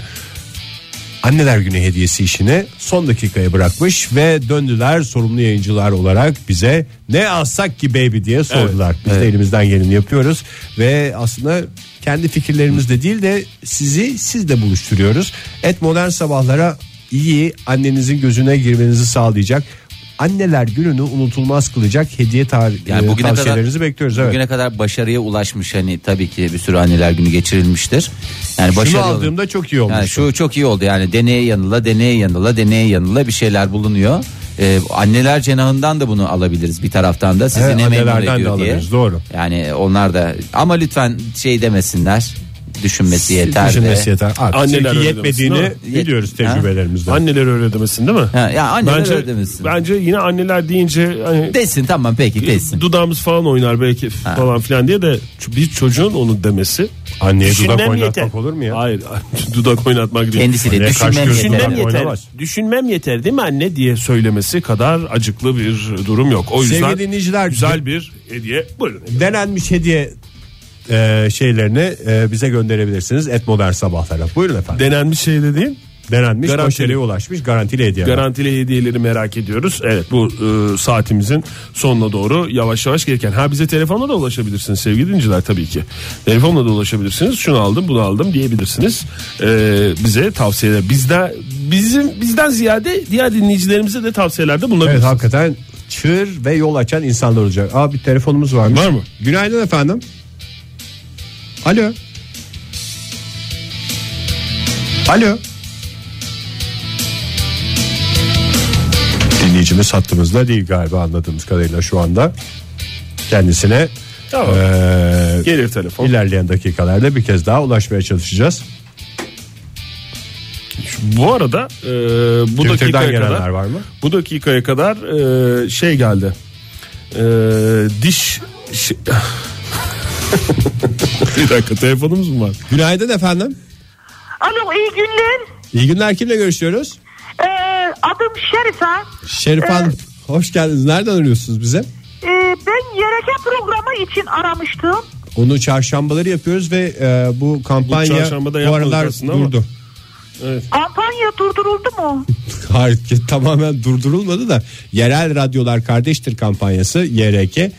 anneler günü hediyesi işini son dakikaya bırakmış ve döndüler sorumlu yayıncılar olarak bize ne alsak ki baby diye sordular. Biz de elimizden geleni yapıyoruz ve aslında kendi fikirlerimizde değil de sizi sizle buluşturuyoruz. Et modern sabahlara iyi annenizin gözüne girmenizi sağlayacak anneler gününü unutulmaz kılacak hediye tar Yani e, bugüne kadar- tavsiyelerinizi bekliyoruz. Evet. Bugüne kadar başarıya ulaşmış hani tabii ki bir sürü anneler günü geçirilmiştir. Yani Şunu başarılı aldığımda çok iyi olmuş. yani şu çok iyi oldu yani deneye yanıla deneye yanıla deneye yanıla bir şeyler bulunuyor. Ee, anneler cenahından da bunu alabiliriz bir taraftan da sizi Evet, ne memnun annelerden de ediyor diye. alabiliriz, doğru. Yani onlar da ama lütfen şey demesinler düşünmesi yeter. Düşünmesi de. yeter. Artık Anneler çünkü öyle yetmediğini demesin, mi? biliyoruz Yet- Ha? tecrübelerimizden. Anneler öyle demesin değil mi? Ha, ya anneler bence, öyle demesin. Bence yine anneler deyince hani, Desin tamam peki desin. dudağımız falan oynar belki falan filan diye de ç- bir çocuğun onu demesi. Anneye dudak düşünmem oynatmak olur mu ya? Hayır [LAUGHS] dudak oynatmak değil. Kendisi de Anneye düşünmem karşı gözüm yeter. Düşünmem Dudak yeter. oynamaz. Düşünmem yeter değil mi anne diye söylemesi kadar acıklı bir durum yok. O yüzden Sevgili dinleyiciler güzel bir hediye. Buyurun. denenmiş hediye e, şeylerini e, bize gönderebilirsiniz. Et modern sabahlara. Buyurun efendim. Denenmiş şey dediğin denenmiş Garantili. başarıya ulaşmış garantili hediye. Garantili hediyeleri merak ediyoruz. Evet bu e, saatimizin sonuna doğru yavaş yavaş gelirken. Ha bize telefonla da ulaşabilirsiniz sevgili dinciler tabii ki. Telefonla da ulaşabilirsiniz. Şunu aldım bunu aldım diyebilirsiniz. E, bize tavsiyeler. Bizde bizim bizden ziyade diğer dinleyicilerimize de tavsiyelerde evet bulunabilirsiniz. hakikaten çığır ve yol açan insanlar olacak. Aa bir telefonumuz varmış. Var mı? Günaydın efendim. Alo. Alo. Dinleyicimiz hattımızda değil galiba anladığımız kadarıyla şu anda. Kendisine Tamam. eee, Gelir telefon. ilerleyen dakikalarda bir kez daha ulaşmaya çalışacağız. Bu arada e, bu Twitter'dan dakikaya gelenler kadar var mı? bu dakikaya kadar e, şey geldi. E, diş şi- [LAUGHS] bir dakika telefonumuz mu var? Günaydın efendim. Alo iyi günler. İyi günler kimle görüşüyoruz? Ee, adım Şerife. Şerif Hanım. Hoş geldiniz. Nereden arıyorsunuz bize? Ee, ben YRK programı için aramıştım. Onu çarşambaları yapıyoruz ve e, bu kampanya çarşamba da bu yapmadık aralar aslında ama. durdu. [LAUGHS] Kampanya durduruldu mu? Hayır ki tamamen durdurulmadı da yerel radyolar kardeştir kampanyası YRK e,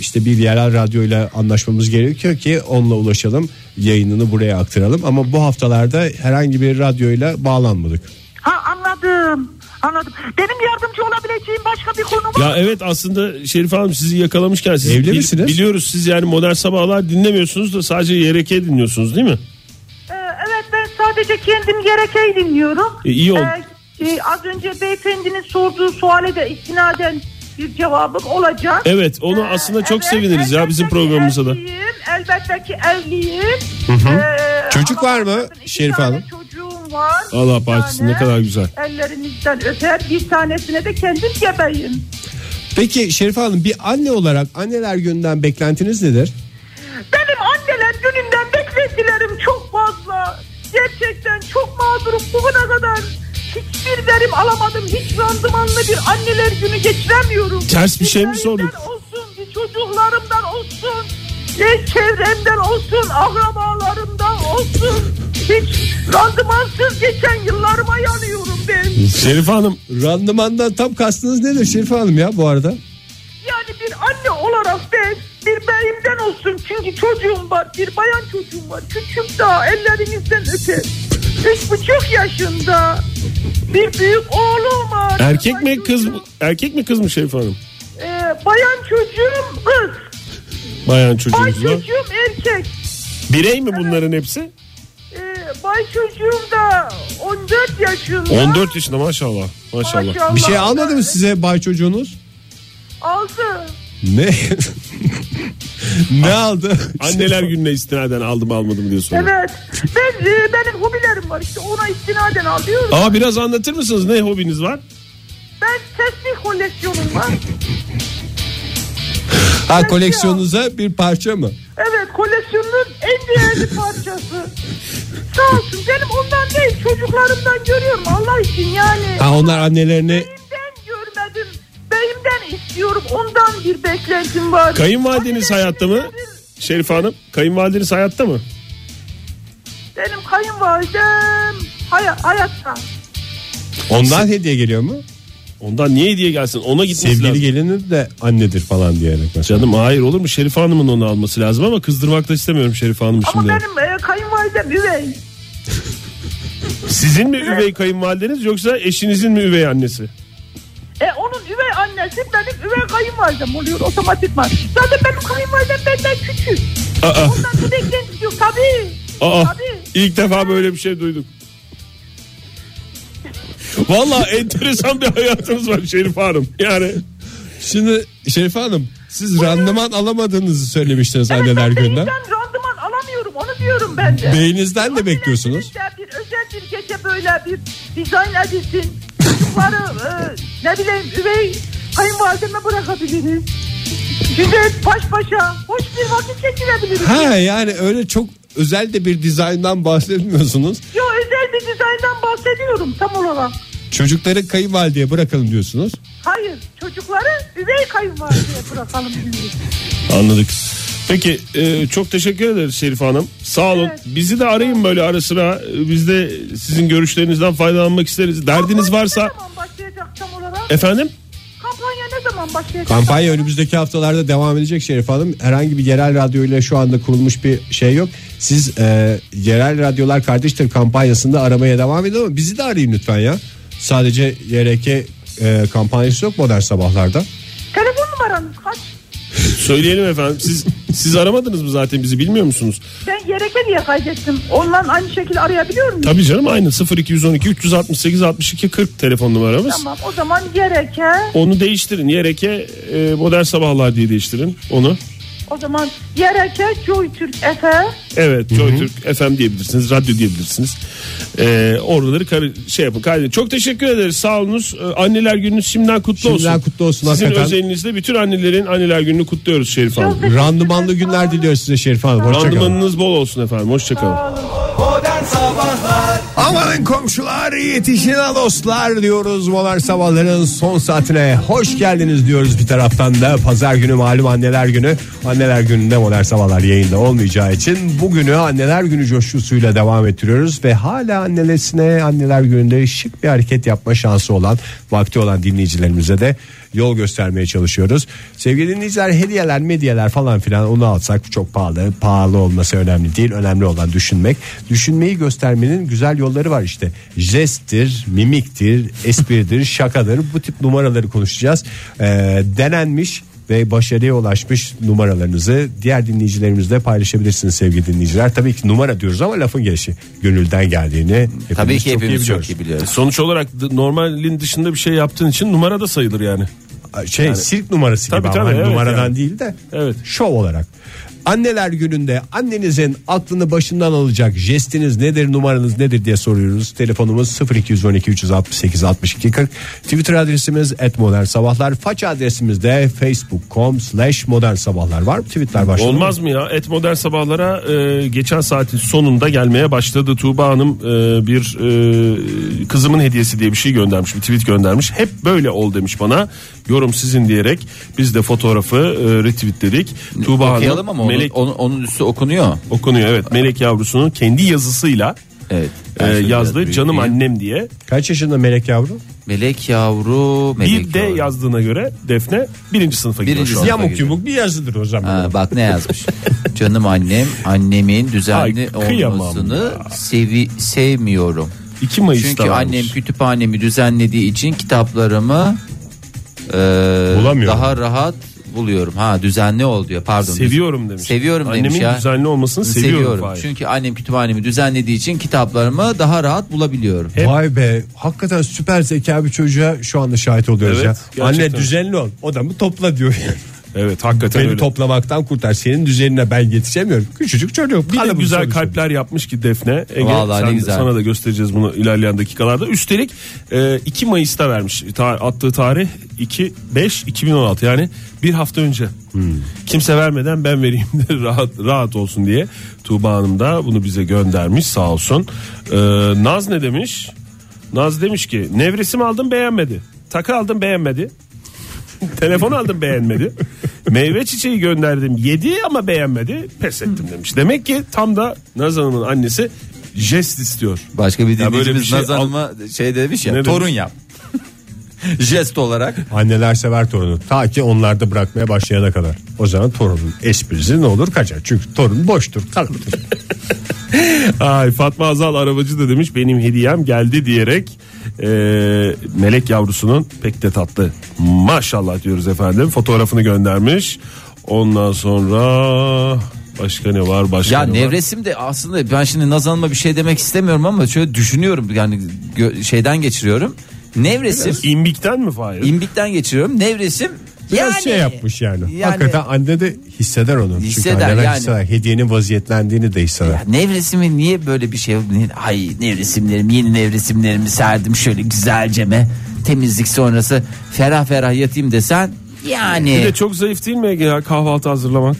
işte bir yerel radyoyla anlaşmamız gerekiyor ki onunla ulaşalım yayınını buraya aktaralım ama bu haftalarda herhangi bir radyoyla bağlanmadık. Ha anladım. Anladım. Benim yardımcı olabileceğim başka bir konu var. Ya evet aslında Şerif Hanım sizi yakalamışken siz Evli bil- misiniz? Biliyoruz siz yani modern sabahlar dinlemiyorsunuz da sadece YRK dinliyorsunuz değil mi? Ee, evet ben sadece kendim YRK'yi dinliyorum. E, iyi oldu. Ee, e, az önce beyefendinin sorduğu suale de istinaden bir cevabım olacak. Evet onu aslında çok Evet, seviniriz ya elbette bizim ki programımıza da. evliyim, elbette ki evliyim. Ee, Çocuk ama var mı bakın iki Şerife tane Hanım? Çocuğum var. Allah Bir bağışlasın tane ne kadar güzel. Ellerinizden öper bir tanesine de kendim gebeyim. Peki Şerife Hanım bir anne olarak anneler gününden beklentiniz nedir? Benim anneler gününden beklentilerim çok fazla. Gerçekten çok mağdurum bugüne kadar. Hiçbir verim alamadım. Hiç randımanlı bir anneler günü geçiremiyorum. Ters bir şey mi sorduk? Bizlerinden olsun, bir çocuklarımdan olsun. Bir çevremden olsun, akrabalarımdan olsun. Hiç randımansız geçen yıllarıma yanıyorum ben. Şerif Hanım Randımandan tam kastınız nedir Şerife Hanım ya bu arada? Yani bir anne olarak ben bir beyimden olsun çünkü çocuğum var bir bayan çocuğum var küçük daha ellerinizden öper. Üç buçuk yaşında bir büyük oğlum var. erkek mi Bayan kız mı? çocuğum- Erkek mi kız mı Şerif Hanım? Ee, bayan çocuğum kız. Bayan Bay çocuğunuz var. çocuğum erkek. Birey mi bunların hepsi? Ee, bay çocuğum da 14 yaşında. 14 yaşında maşallah. Maşallah. Maşallah. Bir şey almadı mı size bay çocuğunuz? Aldı. [LAUGHS] Ne? ne aldı? Anneler gününe istinaden aldım almadım diye soruyor. Evet. Ben, e, benim hobilerim var işte ona istinaden alıyorum. Aa biraz anlatır mısınız ne hobiniz var? Ben tesbih koleksiyonum var. Ha koleksiyonunuza bir parça mı? Evet koleksiyonun en değerli parçası. Sağ olsun benim ondan değil çocuklarımdan görüyorum Allah için yani. Ha onlar annelerine Beyimden görmedim. Beyimden istiyorum ondan bir beklentim var. Kayınvalideniz Annemin hayatta mı? bir- Şerif Hanım kayınvalideniz hayatta mı? Benim kayınvalidem Hay- hayatta. Ondan hediye geliyor mu? Ondan niye hediye gelsin? Ona gitmesi Sevgili lazım. gelinin de annedir falan diyerek mesela. Canım hayır olur mu? Şerife Hanım'ın onu alması lazım ama kızdırmak da istemiyorum Şerife Hanım'ı Ama şimdi. benim e, kayınvalidem üvey. Sizin mi üvey kayınvalideniz yoksa eşinizin mi üvey annesi? E onun üvey annesi benim üvey kayınvalidem oluyor otomatikman. Zaten benim kayınvalidem benden küçük. Aa, Ondan sürekli gidiyor tabii. Ah. aa Tabii. ilk defa böyle bir şey duyduk. Valla enteresan bir hayatınız var Şerife Hanım. Yani Şimdi Şerife Hanım siz randıman alamadığınızı söylemiştiniz Evet, anneler ben gününden. beyinden randıman alamıyorum onu diyorum ben de. Beyninizden de bekliyorsunuz. Mesela Bir özel bir gece böyle bir dizayn edilsin. Çocukları e, ne bileyim üvey kayınvalideme bırakabiliriz. Güzel baş başa hoş bir vakit geçirebiliriz. Ha yani öyle çok özel de bir dizayndan bahsetmiyorsunuz. Yo özel bir dizayndan bahsediyorum tam olarak. Çocukları kayınvalideye bırakalım diyorsunuz. Hayır çocukları üvey kayınvalideye bırakalım diyoruz. Anladık. Peki e, çok teşekkür ederiz Şerife Hanım. Sağ olun. Evet. Bizi de arayın böyle ara sıra. E, Biz de sizin görüşlerinizden faydalanmak isteriz. Derdiniz Kampanya Ne varsa zaman başlayacak tam olarak? efendim Kampanya ne zaman başlayacak? E- Kampanya önümüzdeki haftalarda devam edecek Şerif Hanım. Herhangi bir yerel radyoyla şu anda kurulmuş bir şey yok. Siz e, yerel radyolar kardeştir kampanyasında aramaya devam edin ama bizi de arayın lütfen ya. Sadece YRK e, kampanyası yok modern sabahlarda. Telefon numaranız kaç? söyleyelim efendim. Siz siz aramadınız mı zaten bizi bilmiyor musunuz? Ben yereke diye kaydettim. Ondan aynı şekilde arayabiliyor muyum? Tabii canım aynı 0212 368 62 40 telefon numaramız. Tamam o zaman yereke Onu değiştirin. Yereke e, modern sabahlar diye değiştirin onu. o zaman yereke Joy Türk Efe Evet JoyTürk FM diyebilirsiniz. Radyo diyebilirsiniz. E, oraları karı- şey yapın. kaydedin. Çok teşekkür ederiz. Sağ olunuz. E, anneler gününüz şimdiden kutlu olsun. Şimdiden kutlu olsun Sizin hakikaten. özelinizde bütün annelerin anneler gününü kutluyoruz Şerif Hanım. Çok- Randımanlı günler diliyoruz size Şerif Hanım. Hoşçakalın. Randımanınız bol olsun efendim. Hoşçakalın. Amanın komşular yetişin ha dostlar diyoruz Modern Sabahların son saatine hoş geldiniz diyoruz bir taraftan da Pazar günü malum anneler günü Anneler gününde Modern Sabahlar yayında olmayacağı için Bugünü anneler günü coşkusuyla devam ettiriyoruz Ve hala annelerine anneler gününde şık bir hareket yapma şansı olan Vakti olan dinleyicilerimize de yol göstermeye çalışıyoruz Sevgili dinleyiciler hediyeler medyeler falan filan onu alsak çok pahalı Pahalı olması önemli değil önemli olan düşünmek Düşünmeyi göstermenin güzel yolları var işte. Jesttir, mimiktir, espridir, [LAUGHS] şakadır. Bu tip numaraları konuşacağız. Ee, denenmiş ve başarıya ulaşmış numaralarınızı diğer dinleyicilerimizle paylaşabilirsiniz sevgili dinleyiciler. Tabii ki numara diyoruz ama lafın gelişi gönülden geldiğini hepimiz Tabii ki çok iyi hepimiz biliyoruz. çok iyi biliyoruz. Ee, Sonuç olarak d- normalin dışında bir şey yaptığın için numara da sayılır yani. Şey sirk numarası Tabii, gibi ama tabii, hani evet numaradan yani. değil de Evet. şov olarak. Anneler gününde annenizin aklını başından alacak jestiniz nedir numaranız nedir diye soruyoruz. Telefonumuz 0212 368 62 40. Twitter adresimiz et sabahlar. Faç adresimiz de facebook.com slash modern sabahlar var. mı? Tweetler başladı. mı? Olmaz mı ya? Et modern sabahlara e, geçen saatin sonunda gelmeye başladı. Tuğba Hanım e, bir e, kızımın hediyesi diye bir şey göndermiş. Bir tweet göndermiş. Hep böyle ol demiş bana. Yorum sizin diyerek biz de fotoğrafı e, retweetledik. Tuğba Okuyalım Hanım ama onun, melek onun, onun üstü okunuyor. okunuyor. Evet melek yavrusunun kendi yazısıyla Evet. e, Ben şöyle biraz yazdı. büyük Canım diyeyim. annem diye. Kaç yaşında melek yavru? Melek yavru. Melek Bir de yavru. yazdığına göre Defne birinci sınıfa gidiyor Birinci şu an. sınıf. Yamuk yumuk bir yazıdır o zaman. Ha, bak ne yazmış. Canım annem, annemin düzenli Ay, kıyamam olmasını sevi sevmiyorum. 2 Mayıs'ta Çünkü varmış. annem kütüphanemi düzenlediği için kitaplarımı e, Bulamıyorum. daha rahat buluyorum. Ha düzenli ol diyor. Pardon. Seviyorum demiş. Seviyorum Annemin demiş ya. düzenli olmasını seviyorum. Fahir. Çünkü annem kütüphanemi düzenlediği için kitaplarımı daha rahat bulabiliyorum. Vay be hakikaten süper zeka bir çocuğa şu anda şahit oluyoruz Evet, ya. gerçekten. Anne düzenli ol odamı topla diyor yani. Evet hakikaten Beni öyle. toplamaktan kurtar. Senin düzenine ben yetişemiyorum. Küçücük çocuk. bir de Hadi bunu güzel soruyorsun. kalpler yapmış ki Defne. Ege, Vallahi sen- ne güzel. Sana da göstereceğiz bunu ilerleyen dakikalarda. Üstelik e, 2 Mayıs'ta vermiş Ta- attığı tarih 2 5 2016 yani bir hafta önce. Hmm. Kimse vermeden ben vereyim de [LAUGHS] rahat rahat olsun diye Tuğba Hanım da bunu bize göndermiş sağ olsun. E, Naz ne demiş? Naz demiş ki nevresim aldım beğenmedi. Takı aldım beğenmedi. Telefon aldım beğenmedi. Meyve çiçeği gönderdim yedi ama beğenmedi. Pes ettim demiş. Demek ki tam da Naz Hanım'ın annesi jest istiyor. Başka Ya bir böyle bir dinleyicimiz şey Nazan al- Hanım'a şey demiş ya Ne torun demiş? yap. [LAUGHS] Jest olarak. Anneler sever torunu. Ta ki onlar da bırakmaya başlayana kadar. O zaman torunun esprisi ne olur kaçar. Çünkü torun boştur, kalıptır. Ay Fatma Azal arabacı da demiş benim hediyem geldi diyerek e, melek yavrusunun pek de tatlı maşallah diyoruz efendim fotoğrafını göndermiş. Ondan sonra başka ne var başka Ya ne var? nevresim de aslında ben şimdi Nazan Hanım'a bir şey demek istemiyorum ama şöyle düşünüyorum yani gö- şeyden geçiriyorum. Nevresim İmbikten mi Fahir? imbikten geçiriyorum. Nevresim Biraz yani şey yapmış yani. Yani- Hakikaten anne de hisseder onu. Hisseder Çünkü anneler yani. hisseder. Hediyenin vaziyetlendiğini de hisseder. Ya Nevresimi niye böyle bir şey Ay nevresimlerim yeni nevresimlerimi serdim şöyle güzelceme temizlik sonrası ferah ferah yatayım desen Bir yani de çok zayıf değil mi Ege ya kahvaltı hazırlamak?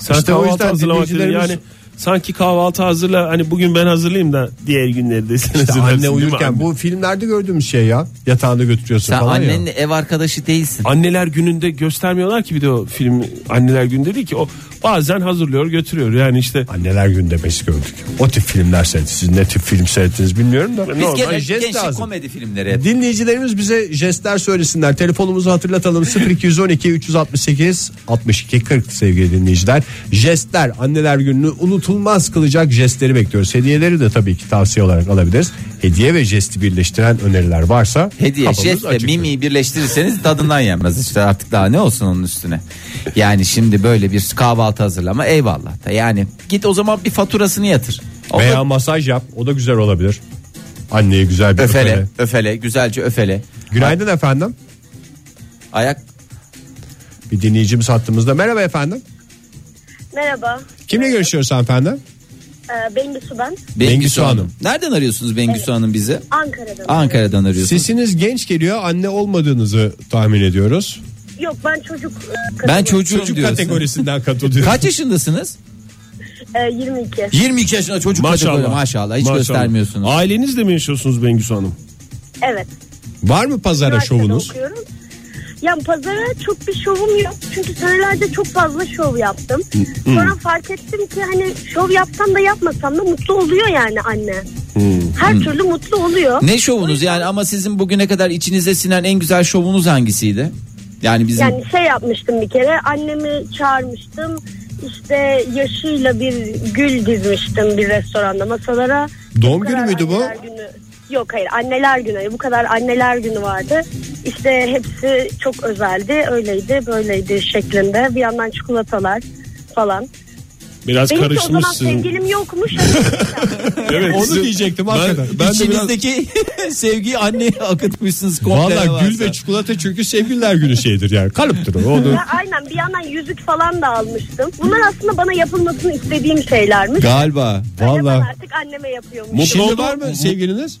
Sen İşte o kahvaltı yüzden hazırlamak dedin. dinleyicilerimiz- yani sanki kahvaltı hazırla hani bugün ben hazırlayayım da diğer günleri de sen İşte hazırlarsın anne değil mi uyurken anne? bu filmlerde gördüğümüz şey ya. Yatağında götürüyorsun sen falan annenin ya. ev arkadaşı değilsin. Anneler gününde göstermiyorlar ki bir de o film anneler günü dedi ki o bazen hazırlıyor götürüyor yani işte Anneler günü demesi gördük. O tip filmler seyredin. Siz ne tip film seyrettiniz bilmiyorum da. Biz normal gene jest gençlik lazım. komedi filmleri hep. Dinleyicilerimiz bize jestler söylesinler. Telefonumuzu hatırlatalım 0212 368 62 40 sevgili dinleyiciler. Jestler anneler gününü unutulmaz kılacak jestleri bekliyoruz. Hediyeleri de tabii ki tavsiye olarak alabiliriz. Hediye ve jesti birleştiren öneriler varsa Hediye, kapımız jest ve açık. mimi birleştirirseniz tadından yenmez işte artık daha ne olsun onun üstüne. Yani şimdi böyle bir kahvaltı hazırlama eyvallah da yani git o zaman bir faturasını yatır. O Veya masaj yap o da güzel olabilir. Anneye güzel bir öfele. öfele, öfele, güzelce öfele. Günaydın efendim. Ayak Bir dinleyicimiz hattımızda. Merhaba efendim. Merhaba. Kimle görüşüyoruz hanımefendi? Ee, benim de Sudan. Bengüsü, Bengüsü Hanım. Hanım. Nereden arıyorsunuz Bengüsü Hanım bizi? Ankara'dan. Ankara'dan arıyorsunuz. Sesiniz genç geliyor. Anne olmadığınızı tahmin ediyoruz. Yok ben çocuk. e, Ben kadınım. çocuğum Çocuk diyorsun. kategorisinden katılıyor. Kaç yaşındasınız? Ee, 22. 22 yaşında çocuk kategori maşallah. maşallah hiç Maşallah. göstermiyorsunuz. Ailenizle mi yaşıyorsunuz Bengüsü Hanım? Evet. Var mı pazara Üniversitede şovunuz? Okuyorum. Ya pazara çok bir şovum yok. Çünkü senelerde çok fazla şov yaptım. Sonra fark ettim ki hani şov yapsam da yapmasam da mutlu oluyor yani anne. Her türlü mutlu oluyor. Ne şovunuz yani ama sizin bugüne kadar içinize sinen en güzel şovunuz hangisiydi? Yani bizim Yani şey yapmıştım bir kere annemi çağırmıştım işte yaşıyla bir gül dizmiştim bir restoranda masalara. Doğum Bu günü kadar müydü bu? anneler günü- Yok hayır anneler günü bu kadar anneler günü vardı. İşte hepsi çok özeldi öyleydi böyleydi şeklinde bir yandan çikolatalar falan. Biraz Benim de o zaman karıştırmışsın. sevgilim yokmuş. Evet, Onu sizin- diyecektim ben, hakikaten. ben de biraz İçinizdeki [LAUGHS] sevgiyi anneye akıtmışsınız komple. Valla gül varsa. ve çikolata çünkü sevgililer günü şeydir yani. Kalıptır o. Onu... ya, aynen bir yandan yüzük falan da almıştım. Bunlar aslında bana yapılmasını istediğim şeylermiş. Galiba. Öyle ben Valla. artık anneme yapıyormuşum. Mutlu Şimdi oldu var mı mu? sevgiliniz?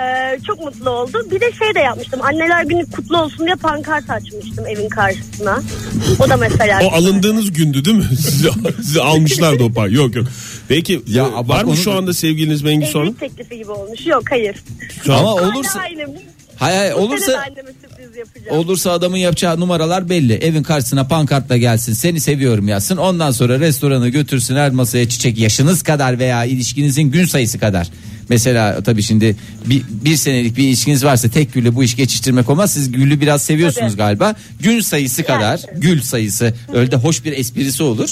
Ee, çok mutlu oldum. Bir de şey de yapmıştım. Anneler günü kutlu olsun diye pankart açmıştım evin karşısına. O da mesela. O alındığınız gündü değil mi? [LAUGHS] Sizi, sizi almışlardı o par. Yok yok. Peki Ya, e, bak var onu mı şu da- anda sevgiliniz Evlilik Bengüsü Hanım? teklifi gibi olmuş. Yok hayır. Şu an- Ama olursa Hala aynı. Bu hay hay sene de olursa anneme sürpriz yapacağım. olursa adamın yapacağı numaralar belli. Evin karşısına pankartla gelsin. Seni seviyorum yazsın. Ondan sonra restorana götürsün her masaya çiçek yaşınız kadar veya ilişkinizin gün sayısı kadar. Mesela tabii şimdi bir, bir senelik bir ilişkiniz varsa tek gülle bu iş geçiştirmek olmaz. Siz gülü biraz seviyorsunuz Tabii. galiba. Gün sayısı kadar gül sayısı öyle de hoş bir esprisi olur.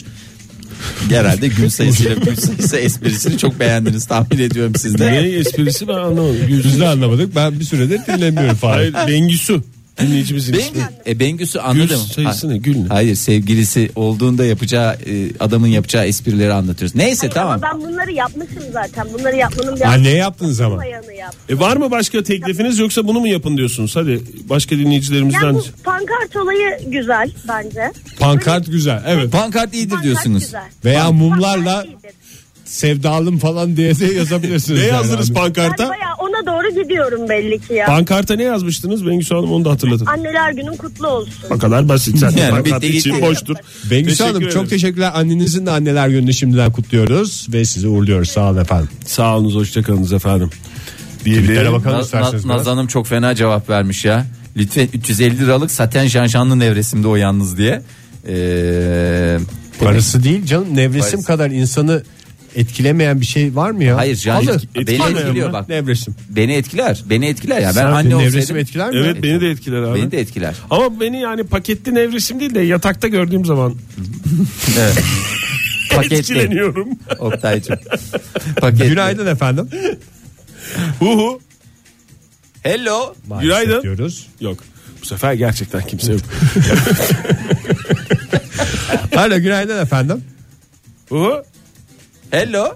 Herhalde gül sayısıyla gül sayısı esprisini çok beğendiniz tahmin ediyorum siz de. Ne esprisi ben anlamadım. Gül- Biz de anlamadık. Ben bir süredir dinlemiyorum falan. Hayır Bengüsü. Dinleyicimizin Bengü, ismi. e, Bengüsü Gül anladım. sayısı ne? Gül ne? Hayır sevgilisi olduğunda yapacağı e, adamın yapacağı esprileri anlatıyoruz. Neyse Hayır, tamam. Ama ben bunları yapmışım zaten. Bunları yapmanın bir Anne yaptın zaman. Dayanı yap. E var mı başka teklifiniz yoksa bunu mu yapın diyorsunuz? Hadi başka dinleyicilerimizden. Yani bu pankart olayı güzel bence. Pankart güzel. Evet. Pankart iyidir Pankart diyorsunuz. güzel. Veya mumlarla Pankart iyidir. sevdalım falan diye de yazabilirsiniz. Ne yani. yazdınız Ben pankarta? bayağı ona doğru gidiyorum belli ki ya. Pankarta ne yazmıştınız Bengüsü Hanım onu da hatırlatın. Anneler günün kutlu olsun. O kadar basit zaten. Yani Pankart bitti için gitti. boştur. Bengüsü Teşekkür Hanım çok ederim. teşekkürler. Annenizin de anneler gününü şimdiden kutluyoruz. Ve sizi uğurluyoruz. Sağ olun efendim. Sağ olunuz hoşçakalınız efendim. Twitter'a Diyelim. bakalım Ee, Na- isterseniz. Na- Naz Hanım çok fena cevap vermiş ya. Lütfen 350 liralık saten janjanlı nevresimde o yalnız diye. Ee, Parası değil canım nevresim Parası. kadar insanı etkilemeyen bir şey var mı ya? Hayır can Halı. beni Etkilemeyen etkiliyor mi? bak. Nevresim. Beni etkiler. Beni etkiler ya. Ben Sen anne nevresim olsaydım. etkiler mi? Evet beni de etkiler abi. Beni de [LAUGHS] etkiler. Ama beni yani paketli nevresim değil de yatakta gördüğüm zaman Evet. Paketli. [LAUGHS] etkileniyorum. Oktay'cığım. Paketli. Günaydın efendim. Huhu. Hello. Günaydın. Diyoruz. Yok. Bu sefer gerçekten kimse [LAUGHS] yok. Alo günaydın efendim. Huhu. Hello.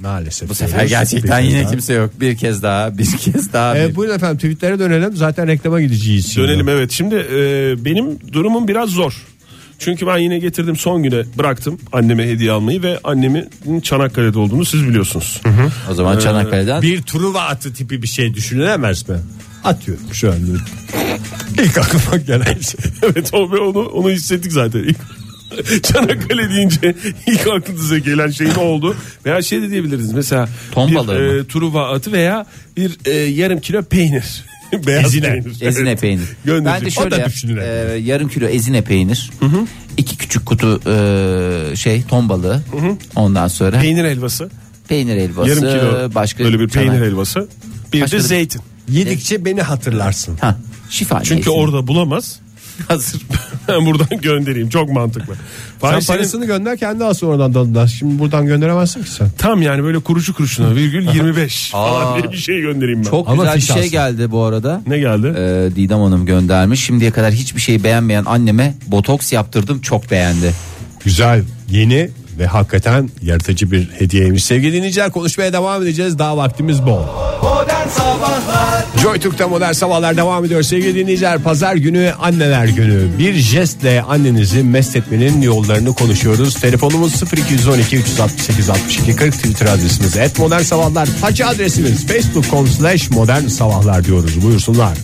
Maalesef. Bu sefer gerçekten yine kimse yok. Bir kez daha, bir [LAUGHS] kez daha. Evet, bir- buyurun efendim tweetlere dönelim. Zaten reklama gideceğiz. şimdi. Dönelim evet. Şimdi e, benim durumum biraz zor. Çünkü ben yine getirdim son güne bıraktım anneme hediye almayı ve annemin Çanakkale'de olduğunu siz biliyorsunuz. O e, zaman Çanakkale'den Bir Truva atı tipi bir şey düşünülemez mi? Atıyorum şu anda. İlk aklıma gelen şey. [LAUGHS] evet o ve onu onu hissettik zaten. [LAUGHS] İlk- Çanakkale deyince ilk aklınıza gelen şey ne oldu? Veya şey de diyebiliriz mesela Ton bir balığı mı? e, truva atı veya bir e, yarım kilo peynir. [LAUGHS] Beyaz Ezine. peynir. ezine Evet. peynir. [LAUGHS] Gönderecek. Ben de şöyle da yap- düşünülebilir. e, yarım kilo ezine peynir. iki küçük kutu e, şey ton balığı. Ondan sonra Peynir helvası. peynir helvası. yarım kilo başka böyle bir peynir Çanak- helvası. Bir Başka de da- zeytin. Yedikçe beni hatırlarsın. Ha, şifa. Çünkü niyetine. orada bulamaz. [LAUGHS] hazır. [LAUGHS] Ben buradan göndereyim. Çok mantıklı. Sen Fahir senin- parasını gönder kendi al sonradan dalından. Şimdi buradan gönderemezsin ki sen. tam yani böyle kuruşu kuruşuna virgül 25 Aa. falan diye bir şey göndereyim ben. Çok Ama güzel bir fiş şey alsın. geldi bu arada. Ne geldi? Ee, Didem Hanım göndermiş. Şimdiye kadar hiçbir şeyi beğenmeyen anneme botoks yaptırdım. Çok beğendi. Güzel, yeni ve hakikaten yaratıcı bir hediyeymiş. Sevgili dinleyiciler konuşmaya devam edeceğiz. Daha vaktimiz bol. Joy Türk'te modern sabahlar devam ediyor. Sevgili dinleyiciler pazar günü anneler günü. Bir jestle annenizi mest etmenin yollarını konuşuyoruz. Telefonumuz 0212 368 62 40 Twitter adresimiz et modern sabahlar. Faça adresimiz facebook.com slash modern sabahlar diyoruz. Buyursunlar.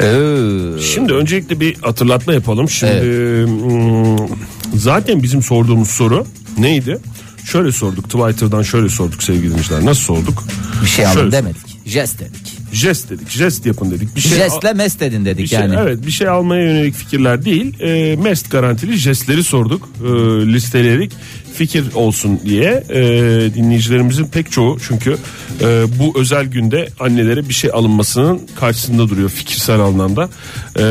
Ee, Şimdi öncelikle bir hatırlatma yapalım. Şimdi hmm, zaten bizim sorduğumuz soru neydi? Şöyle sorduk Twitter'dan şöyle sorduk sevgili dinleyiciler. Nasıl sorduk? bir şey alın Şöyle- demedik. Jest dedik. Jest dedik. Jest yapın dedik. Bir şey Jestle mest edin dedik Bir şey- yani. evet bir şey almaya yönelik fikirler değil. E, mest garantili jestleri sorduk. E, listeleyerek fikir olsun diye E, dinleyicilerimizin pek çoğu çünkü e, bu özel günde annelere bir şey alınmasının karşısında duruyor fikirsel anlamda. E,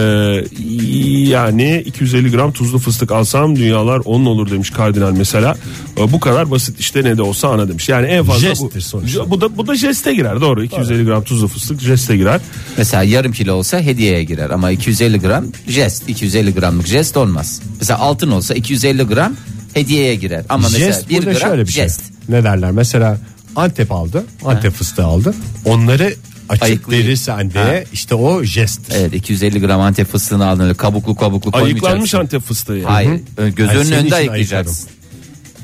yani 250 gram tuzlu fıstık alsam dünyalar onun olur demiş kardinal mesela. E, bu kadar basit işte ne de olsa ana demiş. Yani en fazla Jesttir sonuçta. bu, bu da bu da jeste girer doğru. 250 gram tuzlu fıstık jeste girer. Mesela yarım kilo olsa hediyeye girer ama 250 gram jest 250 gramlık jest olmaz. Mesela altın olsa 250 gram hediyeye girer ama mesela Jest 1 burada gram şöyle bir jest. şey. Ne derler mesela Antep aldı. Antep fıstığı aldı. Onları açık Ayıklayıp. verirse anneye işte o jest. Evet 250 gram antep fıstığını aldın öyle kabuklu kabuklu Ayıklanmış koymayacaksın. Antep fıstığı. yani. Hayır ö- gözünün Hayır, senin için önünde ayıklayacaksın.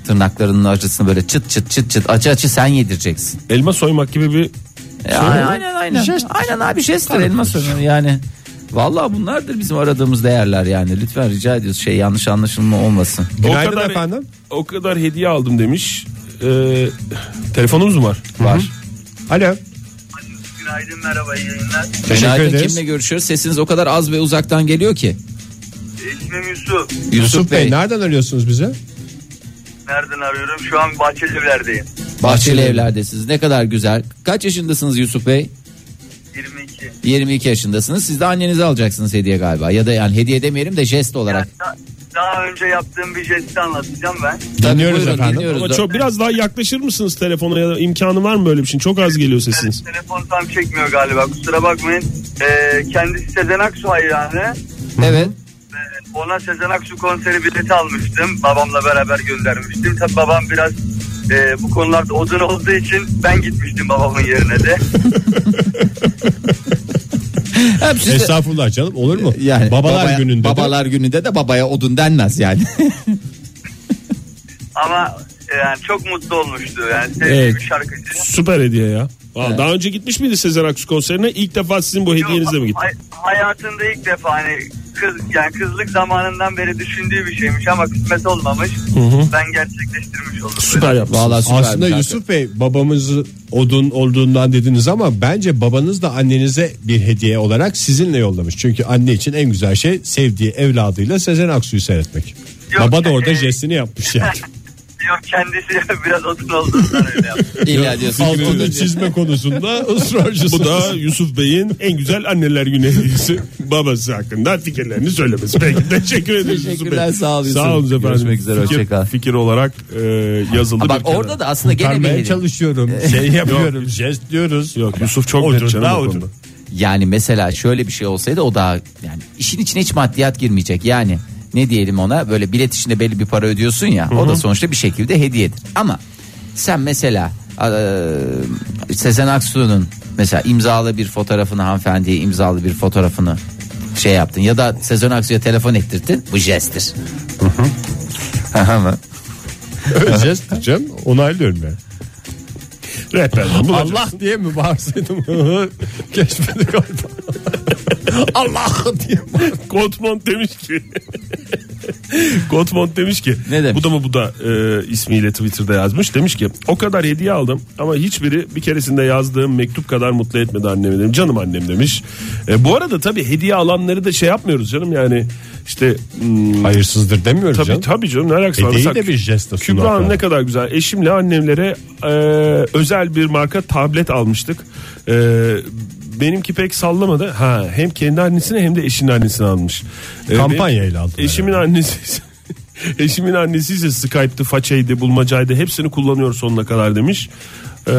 Tırnaklarının acısını böyle çıt çıt çıt çıt acı acı sen yedireceksin. Elma soymak gibi bir E, aynen aynen. Aynen, aynen abi jesttir elma sonu yani. Vallahi bunlardır bizim aradığımız değerler yani. Lütfen rica ediyoruz şey yanlış anlaşılma olmasın. Günaydın efendim. O kadar hediye aldım demiş. Ee, telefonumuz mu var? Var. Alo. Günaydın merhaba iyi yayınlar. Teşekkür Günaydın ederiz. kimle görüşüyoruz? Sesiniz o kadar az ve uzaktan geliyor ki. İsmim Yusuf. Yusuf, Yusuf Bey, nereden arıyorsunuz bizi? Nereden arıyorum? Şu an Bahçelievler'deyim. Bahçeli evlerdesiniz. Ne kadar güzel. Kaç yaşındasınız Yusuf Bey? 22. 22 yaşındasınız. Siz de annenizi alacaksınız hediye galiba. Ya da yani hediye demeyelim de jest olarak. Yani da- daha önce yaptığım bir jesti anlatacağım ben. Tabii Dinliyoruz buyurun, efendim. dinliyoruz. Ama çok biraz daha yaklaşır mısınız telefona ya da imkanı var mı böyle bir şey? Çok az geliyor sesiniz. Evet, telefon tam çekmiyor galiba kusura bakmayın. Ee, kendisi Sezen Aksu hayranı. Evet. Ee, Ona Sezen Aksu konseri bileti almıştım. Babamla beraber göndermiştim. Tabii babam biraz e, bu konularda odun olduğu için ben gitmiştim babamın yerine de. Hep size- Estağfurullah canım olur mu? yani babalar babaya- gününde de- Babalar gününde de babaya odun denmez yani. Ama e, yani çok mutlu olmuştu. Yani sevdiğim Evet. bir şarkıcı. Süper hediye ya. Aa, Daha önce gitmiş miydi Sezen Aksu konserine? İlk defa sizin bu hediyenizle mi gitti? Hay- hayatında ilk defa hani kız yani kızlık zamanından beri düşündüğü bir şeymiş ama kısmet olmamış. Ben gerçekleştirmiş oldum. Süper yapmışsınız. Vallahi süper Aslında bir dakika. Yusuf Bey babamız odun olduğundan dediniz ama bence babanız da annenize bir hediye olarak sizinle yollamış. Çünkü anne için en güzel şey sevdiği evladıyla Sezen Aksu'yu seyretmek. Yok, Baba da orada e- [LAUGHS] jestini yapmış yani. Yok kendisi [LAUGHS] biraz odun olduğundan öyle yaptı. İlla diyorsun. Altını [LAUGHS] çizme konusunda ısrarcısınız. Bu da Yusuf Bey'in en güzel anneler günü hediyesi. Babası hakkında fikirlerini söylemesi. Peki teşekkür ederiz Yusuf Bey. Teşekkürler, sağ ol Yusuf. Sağ olun efendim. Görüşmek üzere, Fikir- hoşça kal. Fikir olarak e, yazıldı. Ha, Bak bir kenara. orada da aslında gene bir Vermeye hediye. çalışıyorum. Şey yapıyorum. jest diyoruz. Yok Yusuf çok net Ucunda, canım o ucunda. konuda. Yani mesela şöyle bir şey olsaydı o da yani işin içine hiç maddiyat girmeyecek. Yani ne diyelim ona böyle bilet içinde belli bir para ödüyorsun ya o da sonuçta bir şekilde hediyedir. Ama sen mesela eee, Sezen Aksu'nun mesela imzalı bir fotoğrafını hanımefendiye imzalı bir fotoğrafını şey yaptın ya da Sezen Aksu'ya telefon ettirdin bu jesttir. Aha mı? jest diyeceğim. Onaylıyorum yani. Rehberden bulacağız. Allah diye mi bağırsaydım? [LAUGHS] Geçmedi galiba. Allah diye bağırsaydım. Gottmont demiş ki Gottmont demiş ki Ne Bu demiş? da mı bu da e, ismiyle Twitter'da yazmış Demiş ki o kadar hediye aldım Ama hiçbiri bir keresinde yazdığım mektup kadar mutlu etmedi annemi demiş Canım annem demiş E, Bu arada tabii hediye alanları da şey yapmıyoruz canım Yani işte hmm, Hayırsızdır demiyoruz Tabii canım. tabii canım ne alakası var? Hediyeyi Mesela de bir jeste sunar Kübra Hanım falan. ne kadar güzel. Eşimle annemlere e, özel bir marka tablet almıştık. E, benimki pek sallamadı. Ha hem kendi annesine hem de eşinin annesine almış. E, Kampanyayla benim- aldılar Eşimin annesi ise- [LAUGHS] Eşimin annesi ise Skype'dı, façaydı, bulmacaydı hepsini kullanıyor sonuna kadar demiş. E,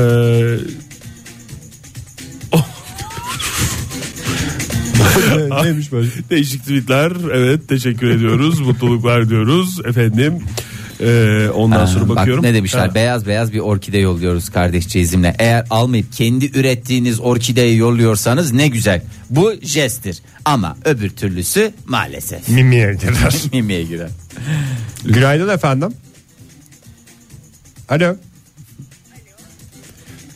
Ne- Neymiş böyle? değişik tweetler. Evet teşekkür [LAUGHS] ediyoruz. Mutluluklar diyoruz efendim. E, ondan Aa, sonra bak bakıyorum. ne demişler Ha. beyaz beyaz bir orkide yolluyoruz kardeşçe izimle. Eğer almayıp kendi ürettiğiniz orkideyi yolluyorsanız ne güzel. Bu jesttir ama öbür türlüsü [LAUGHS] maalesef. Mimiye girer. Mimiye girer. Günaydın efendim. Alo.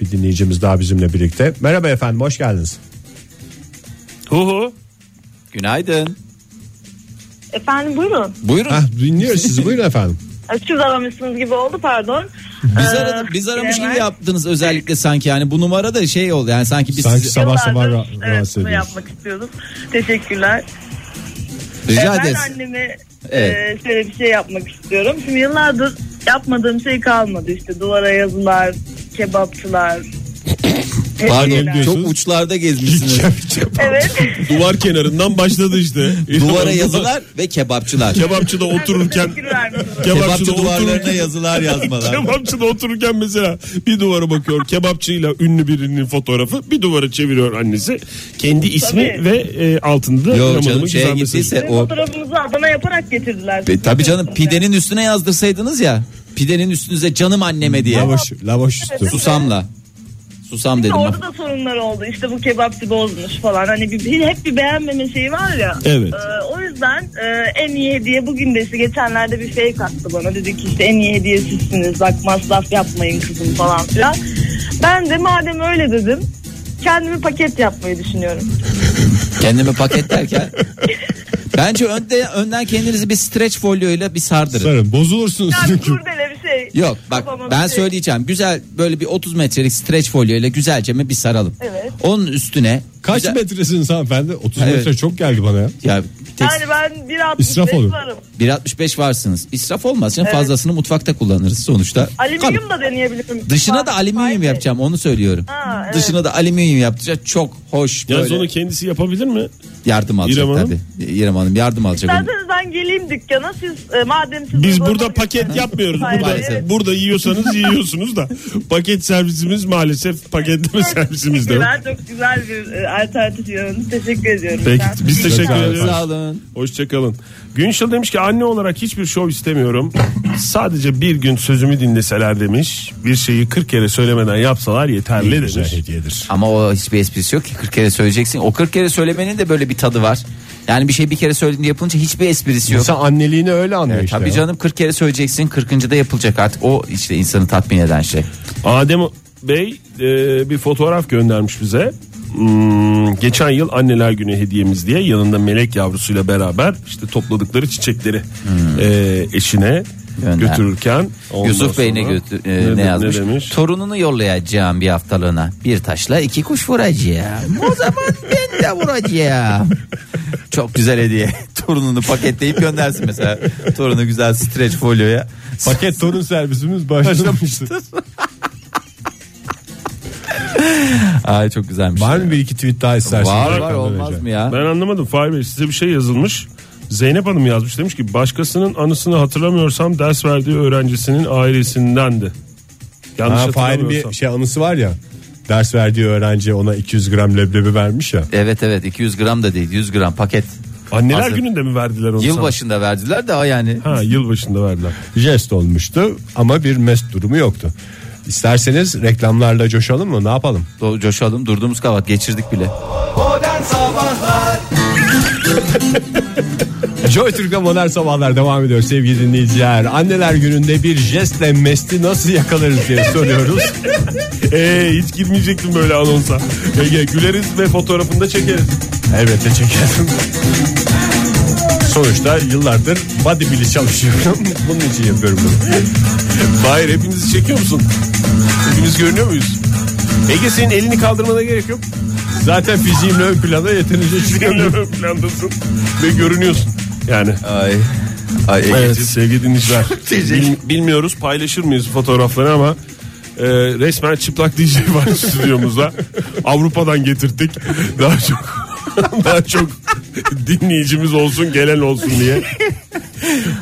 Bir dinleyicimiz daha bizimle birlikte. Merhaba efendim hoş geldiniz. Hu hu. Günaydın. Efendim buyurun. Buyurun. Ah, Hah, dinliyoruz sizi buyurun [LAUGHS] efendim. Ay, Siz aramışsınız gibi oldu pardon. Biz, Ee, aradık, biz aramış Bilemez. gibi yaptınız özellikle sanki yani bu numara da şey oldu yani sanki biz Sanki sizi- sabah sabah ra- Yıllardır, evet, rahatsız bunu ediyoruz. yapmak istiyordum. Teşekkürler. rica Ee, ben ederiz. anneme Evet. e, şöyle bir şey yapmak istiyorum. Şimdi yıllardır yapmadığım şey kalmadı işte duvara yazılar, kebapçılar. Pardon hediyeler. çok uçlarda gezmişsiniz. Evet. Duvar kenarından başladı işte. Duvara yazılar ve kebapçılar. Kebapçıda otururken Teşekkürler. kebapçıda Kebapçı duvarlarına otururken yazılar yazmalar. Kebapçıda otururken mesela bir duvara bakıyor. Kebapçıyla ünlü birinin fotoğrafı bir duvara çeviriyor annesi. Kendi ismi Tabii. ve e, altında Yok Ramazan'ın canım güzel şeye mesajı. gittiyse o Fotoğrafımızı Adana yaparak getirdiler. E, tabii canım pidenin üstüne yazdırsaydınız ya. Pidenin üstüne canım anneme diye. Lavaş, lavaş üstü. Susamla. Susam dedim. Orada da sorunlar oldu. İşte bu kebapçı bozmuş falan. Hani bir, bir- hep bir beğenmeme şeyi şey var ya. Evet. Ee, o yüzden e, en iyi hediye bugün desi geçenlerde bir fake attı bana. Dedi ki işte en iyi hediye sizsiniz. Bak masraf yapmayın kızım falan filan. Ben de madem öyle dedim kendimi paket yapmayı düşünüyorum. Kendimi paketlerken. Bence önde, önden kendinizi bir streç folyoyla bir sardırın. Sarın bozulursunuz [LAUGHS] Yani çünkü. kurdele bir şey. Yok bak Kafama bir ben şey. söyleyeceğim. Güzel böyle bir 30 metrelik streç folyoyla güzelce mi bir saralım. Evet. Onun üstüne Kaç güzel- metresiniz hanımefendi? 30 Evet. metre çok geldi bana ya. Ya tek- Yani ben İsraf 1.65 oluyor. varım. 1.65 varsınız. İsraf olmaz canım. Fazlasını mutfakta kullanırız sonuçta. Kalın. Alüminyum da deneyebilirim. Dışına da alüminyum Hayır. yapacağım onu söylüyorum. Ha, evet. Dışına da alüminyum yapacağız. Çok hoş böyle. Yalnız onu kendisi yapabilir mi? Yardım alacak İrem Hanım? tabii. İrem Hanım yardım alacak. onu. İsterseniz ben geleyim dükkana siz e, madem siz Biz uygulamak burada paket istiyorsunuz- yapmıyoruz. Hayır, Burada, evet. burada yiyorsanız yiyorsunuz da paket servisimiz maalesef paketleme servisimiz de yok. Teşekkürler. Çok güzel bir e, alternatif yönünüz. Teşekkür ediyorum. Peki Ben- biz teşekkür Sağ olun. ediyoruz. Sağ olun. Hoşçakalın. Günşil demiş ki anne olarak hiçbir şov istemiyorum. Sadece bir gün sözümü dinleseler demiş. Bir şeyi 40 kere söylemeden yapsalar yeterli demiş. Güzel hediyedir. Ama o hiçbir esprisi yok ki 40 kere söyleyeceksin. O 40 kere söylemenin de böyle bir tadı var. Yani bir şey bir kere söylediğinde yapılınca hiçbir esprisi yok. İnsan anneliğini öyle anlıyor işte. Tabii ya. canım 40 kere söyleyeceksin 40. da yapılacak artık o işte insanı tatmin eden şey. Adem Bey e, bir fotoğraf göndermiş bize. Hmm, geçen yıl anneler günü hediyemiz diye yanında melek yavrusuyla beraber işte topladıkları çiçekleri e, eşine Hmm. Gönder. götürürken ondan Yusuf Bey ne, sonra- götü- e, de- ne yazmış? demiş? Torununu yollayacağım bir haftalığına. Bir taşla iki kuş vuracağım. [LAUGHS] O zaman ben de vuracağım. Çok güzel hediye. [LAUGHS] Torununu paketleyip göndersin mesela. Torunu güzel streç folyoya. Paket torun servisimiz başlamıştı. Ay çok güzelmiş. Var mı bir iki tweet daha istersen? Var var olmaz mı ya? Ben anlamadım Fahir Bey size bir şey yazılmış. Zeynep Hanım yazmış demiş ki başkasının anısını hatırlamıyorsam ders verdiği öğrencisinin ailesindendi. Yanlış Ha, Fahir'in hatırlamıyorsam. bir şey anısı var ya. Ders verdiği öğrenci ona 200 gram leblebi vermiş ya. Evet evet 200 gram da değil 100 gram paket. Anneler Hazır. gününde mi verdiler onu sana? Yılbaşında verdiler de o yani. Ha yılbaşında verdiler. Jest olmuştu ama bir mest durumu yoktu. İsterseniz reklamlarla coşalım mı? Ne yapalım? Do- Coşalım durduğumuz kavat geçirdik bile. Joy Türk'e modern sabahlar devam ediyor sevgili dinleyiciler. Anneler gününde bir jestle mesti nasıl yakalarız diye soruyoruz. Ee, Eee Ee, hiç girmeyecektim böyle anonsa. Ege güleriz ve fotoğrafını da çekeriz. Elbette çekerim. Sonuçta yıllardır bodybuilding çalışıyorum. [LAUGHS] Bunun için yapıyorum bunu. Hayır hepinizi çekiyor musun? Hepimiz görünüyor muyuz? Ege senin elini kaldırmana gerek yok. Zaten fiziğimle ön plana yeterince çıkıyorum. Görünüyor plandasın ve görünüyorsun. Yani Ay. Ay evet sevgili [LAUGHS] dinleyiciler. bil- bilmiyoruz paylaşır mıyız fotoğrafları ama e, resmen çıplak DJ [LAUGHS] var stüdyomuzda. Avrupa'dan getirttik. Daha çok [LAUGHS] daha çok dinleyicimiz olsun gelen olsun diye.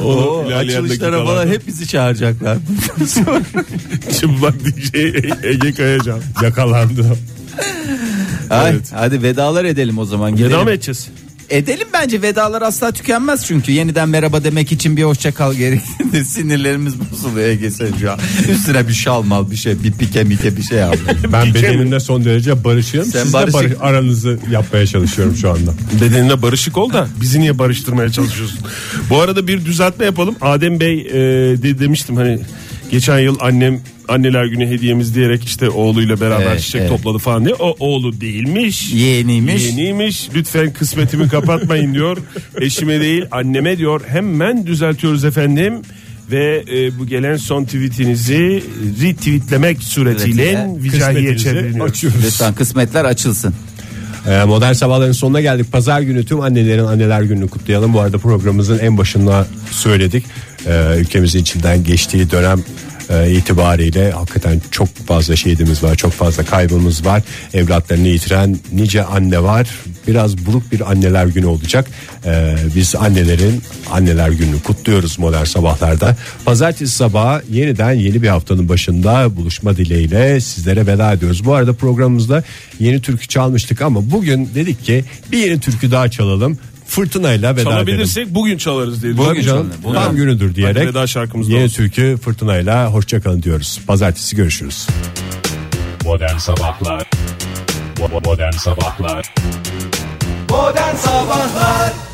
Onu ilerleyen açılışlara dakikalarda- falan hep bizi çağıracaklar. Çıplak DJ Ege Kayacan yakalandı. Ay, Hadi vedalar edelim o zaman. Gidelim. Veda mı edeceğiz? Edelim bence vedalar asla tükenmez çünkü. Yeniden merhaba demek için bir hoşça kal gerektiğinde [LAUGHS] sinirlerimiz bozuluyor Ege sen şu an. Üstüne bir şal mal bir şey bir pike mike bir şey abi. Ben bedenimle son derece barışığım. Sen Siz de barışık- barış- aranızı yapmaya çalışıyorum şu anda. Bedenine barışık ol da bizi niye barıştırmaya çalışıyorsun? Bu arada bir düzeltme yapalım. Adem Bey e, de, demiştim hani geçen yıl annem anneler günü hediyemiz diyerek işte oğluyla beraber Evet, çiçek evet. topladı falan diye. O oğlu değilmiş. Yeğeniymiş. Yeniymiş. Lütfen kısmetimi kapatmayın diyor. Eşime değil anneme diyor. Hemen düzeltiyoruz efendim. Ve e, bu gelen son tweetinizi retweetlemek suretiyle Suretiyle vicahiye Kısmetinizi çevriliyoruz. açıyoruz. Lütfen kısmetler açılsın. Ee, modern sabahların sonuna geldik. Pazar günü tüm annelerin anneler gününü kutlayalım. Bu arada programımızın en başında söyledik. Ee, ülkemizin içinden geçtiği dönem e, itibariyle hakikaten çok fazla şehidimiz var. Çok fazla kaybımız var. Evlatlarını yitiren nice anne var. Biraz buruk bir anneler günü olacak. Ee, biz annelerin anneler gününü kutluyoruz modern sabahlarda. Pazartesi sabahı yeniden yeni bir haftanın başında buluşma dileğiyle sizlere veda ediyoruz. Bu arada programımızda yeni türkü çalmıştık ama bugün dedik ki bir yeni türkü daha çalalım. Fırtınayla veda edelim. Çalabilirsek bugün çalarız diye. Bugün canım, çalalım. tam günüdür diyerek Hadi veda şarkımız da yeni olsun. türkü fırtınayla hoşçakalın diyoruz. Pazartesi görüşürüz. Modern Sabahlar Bo- Modern Sabahlar Modern Sabahlar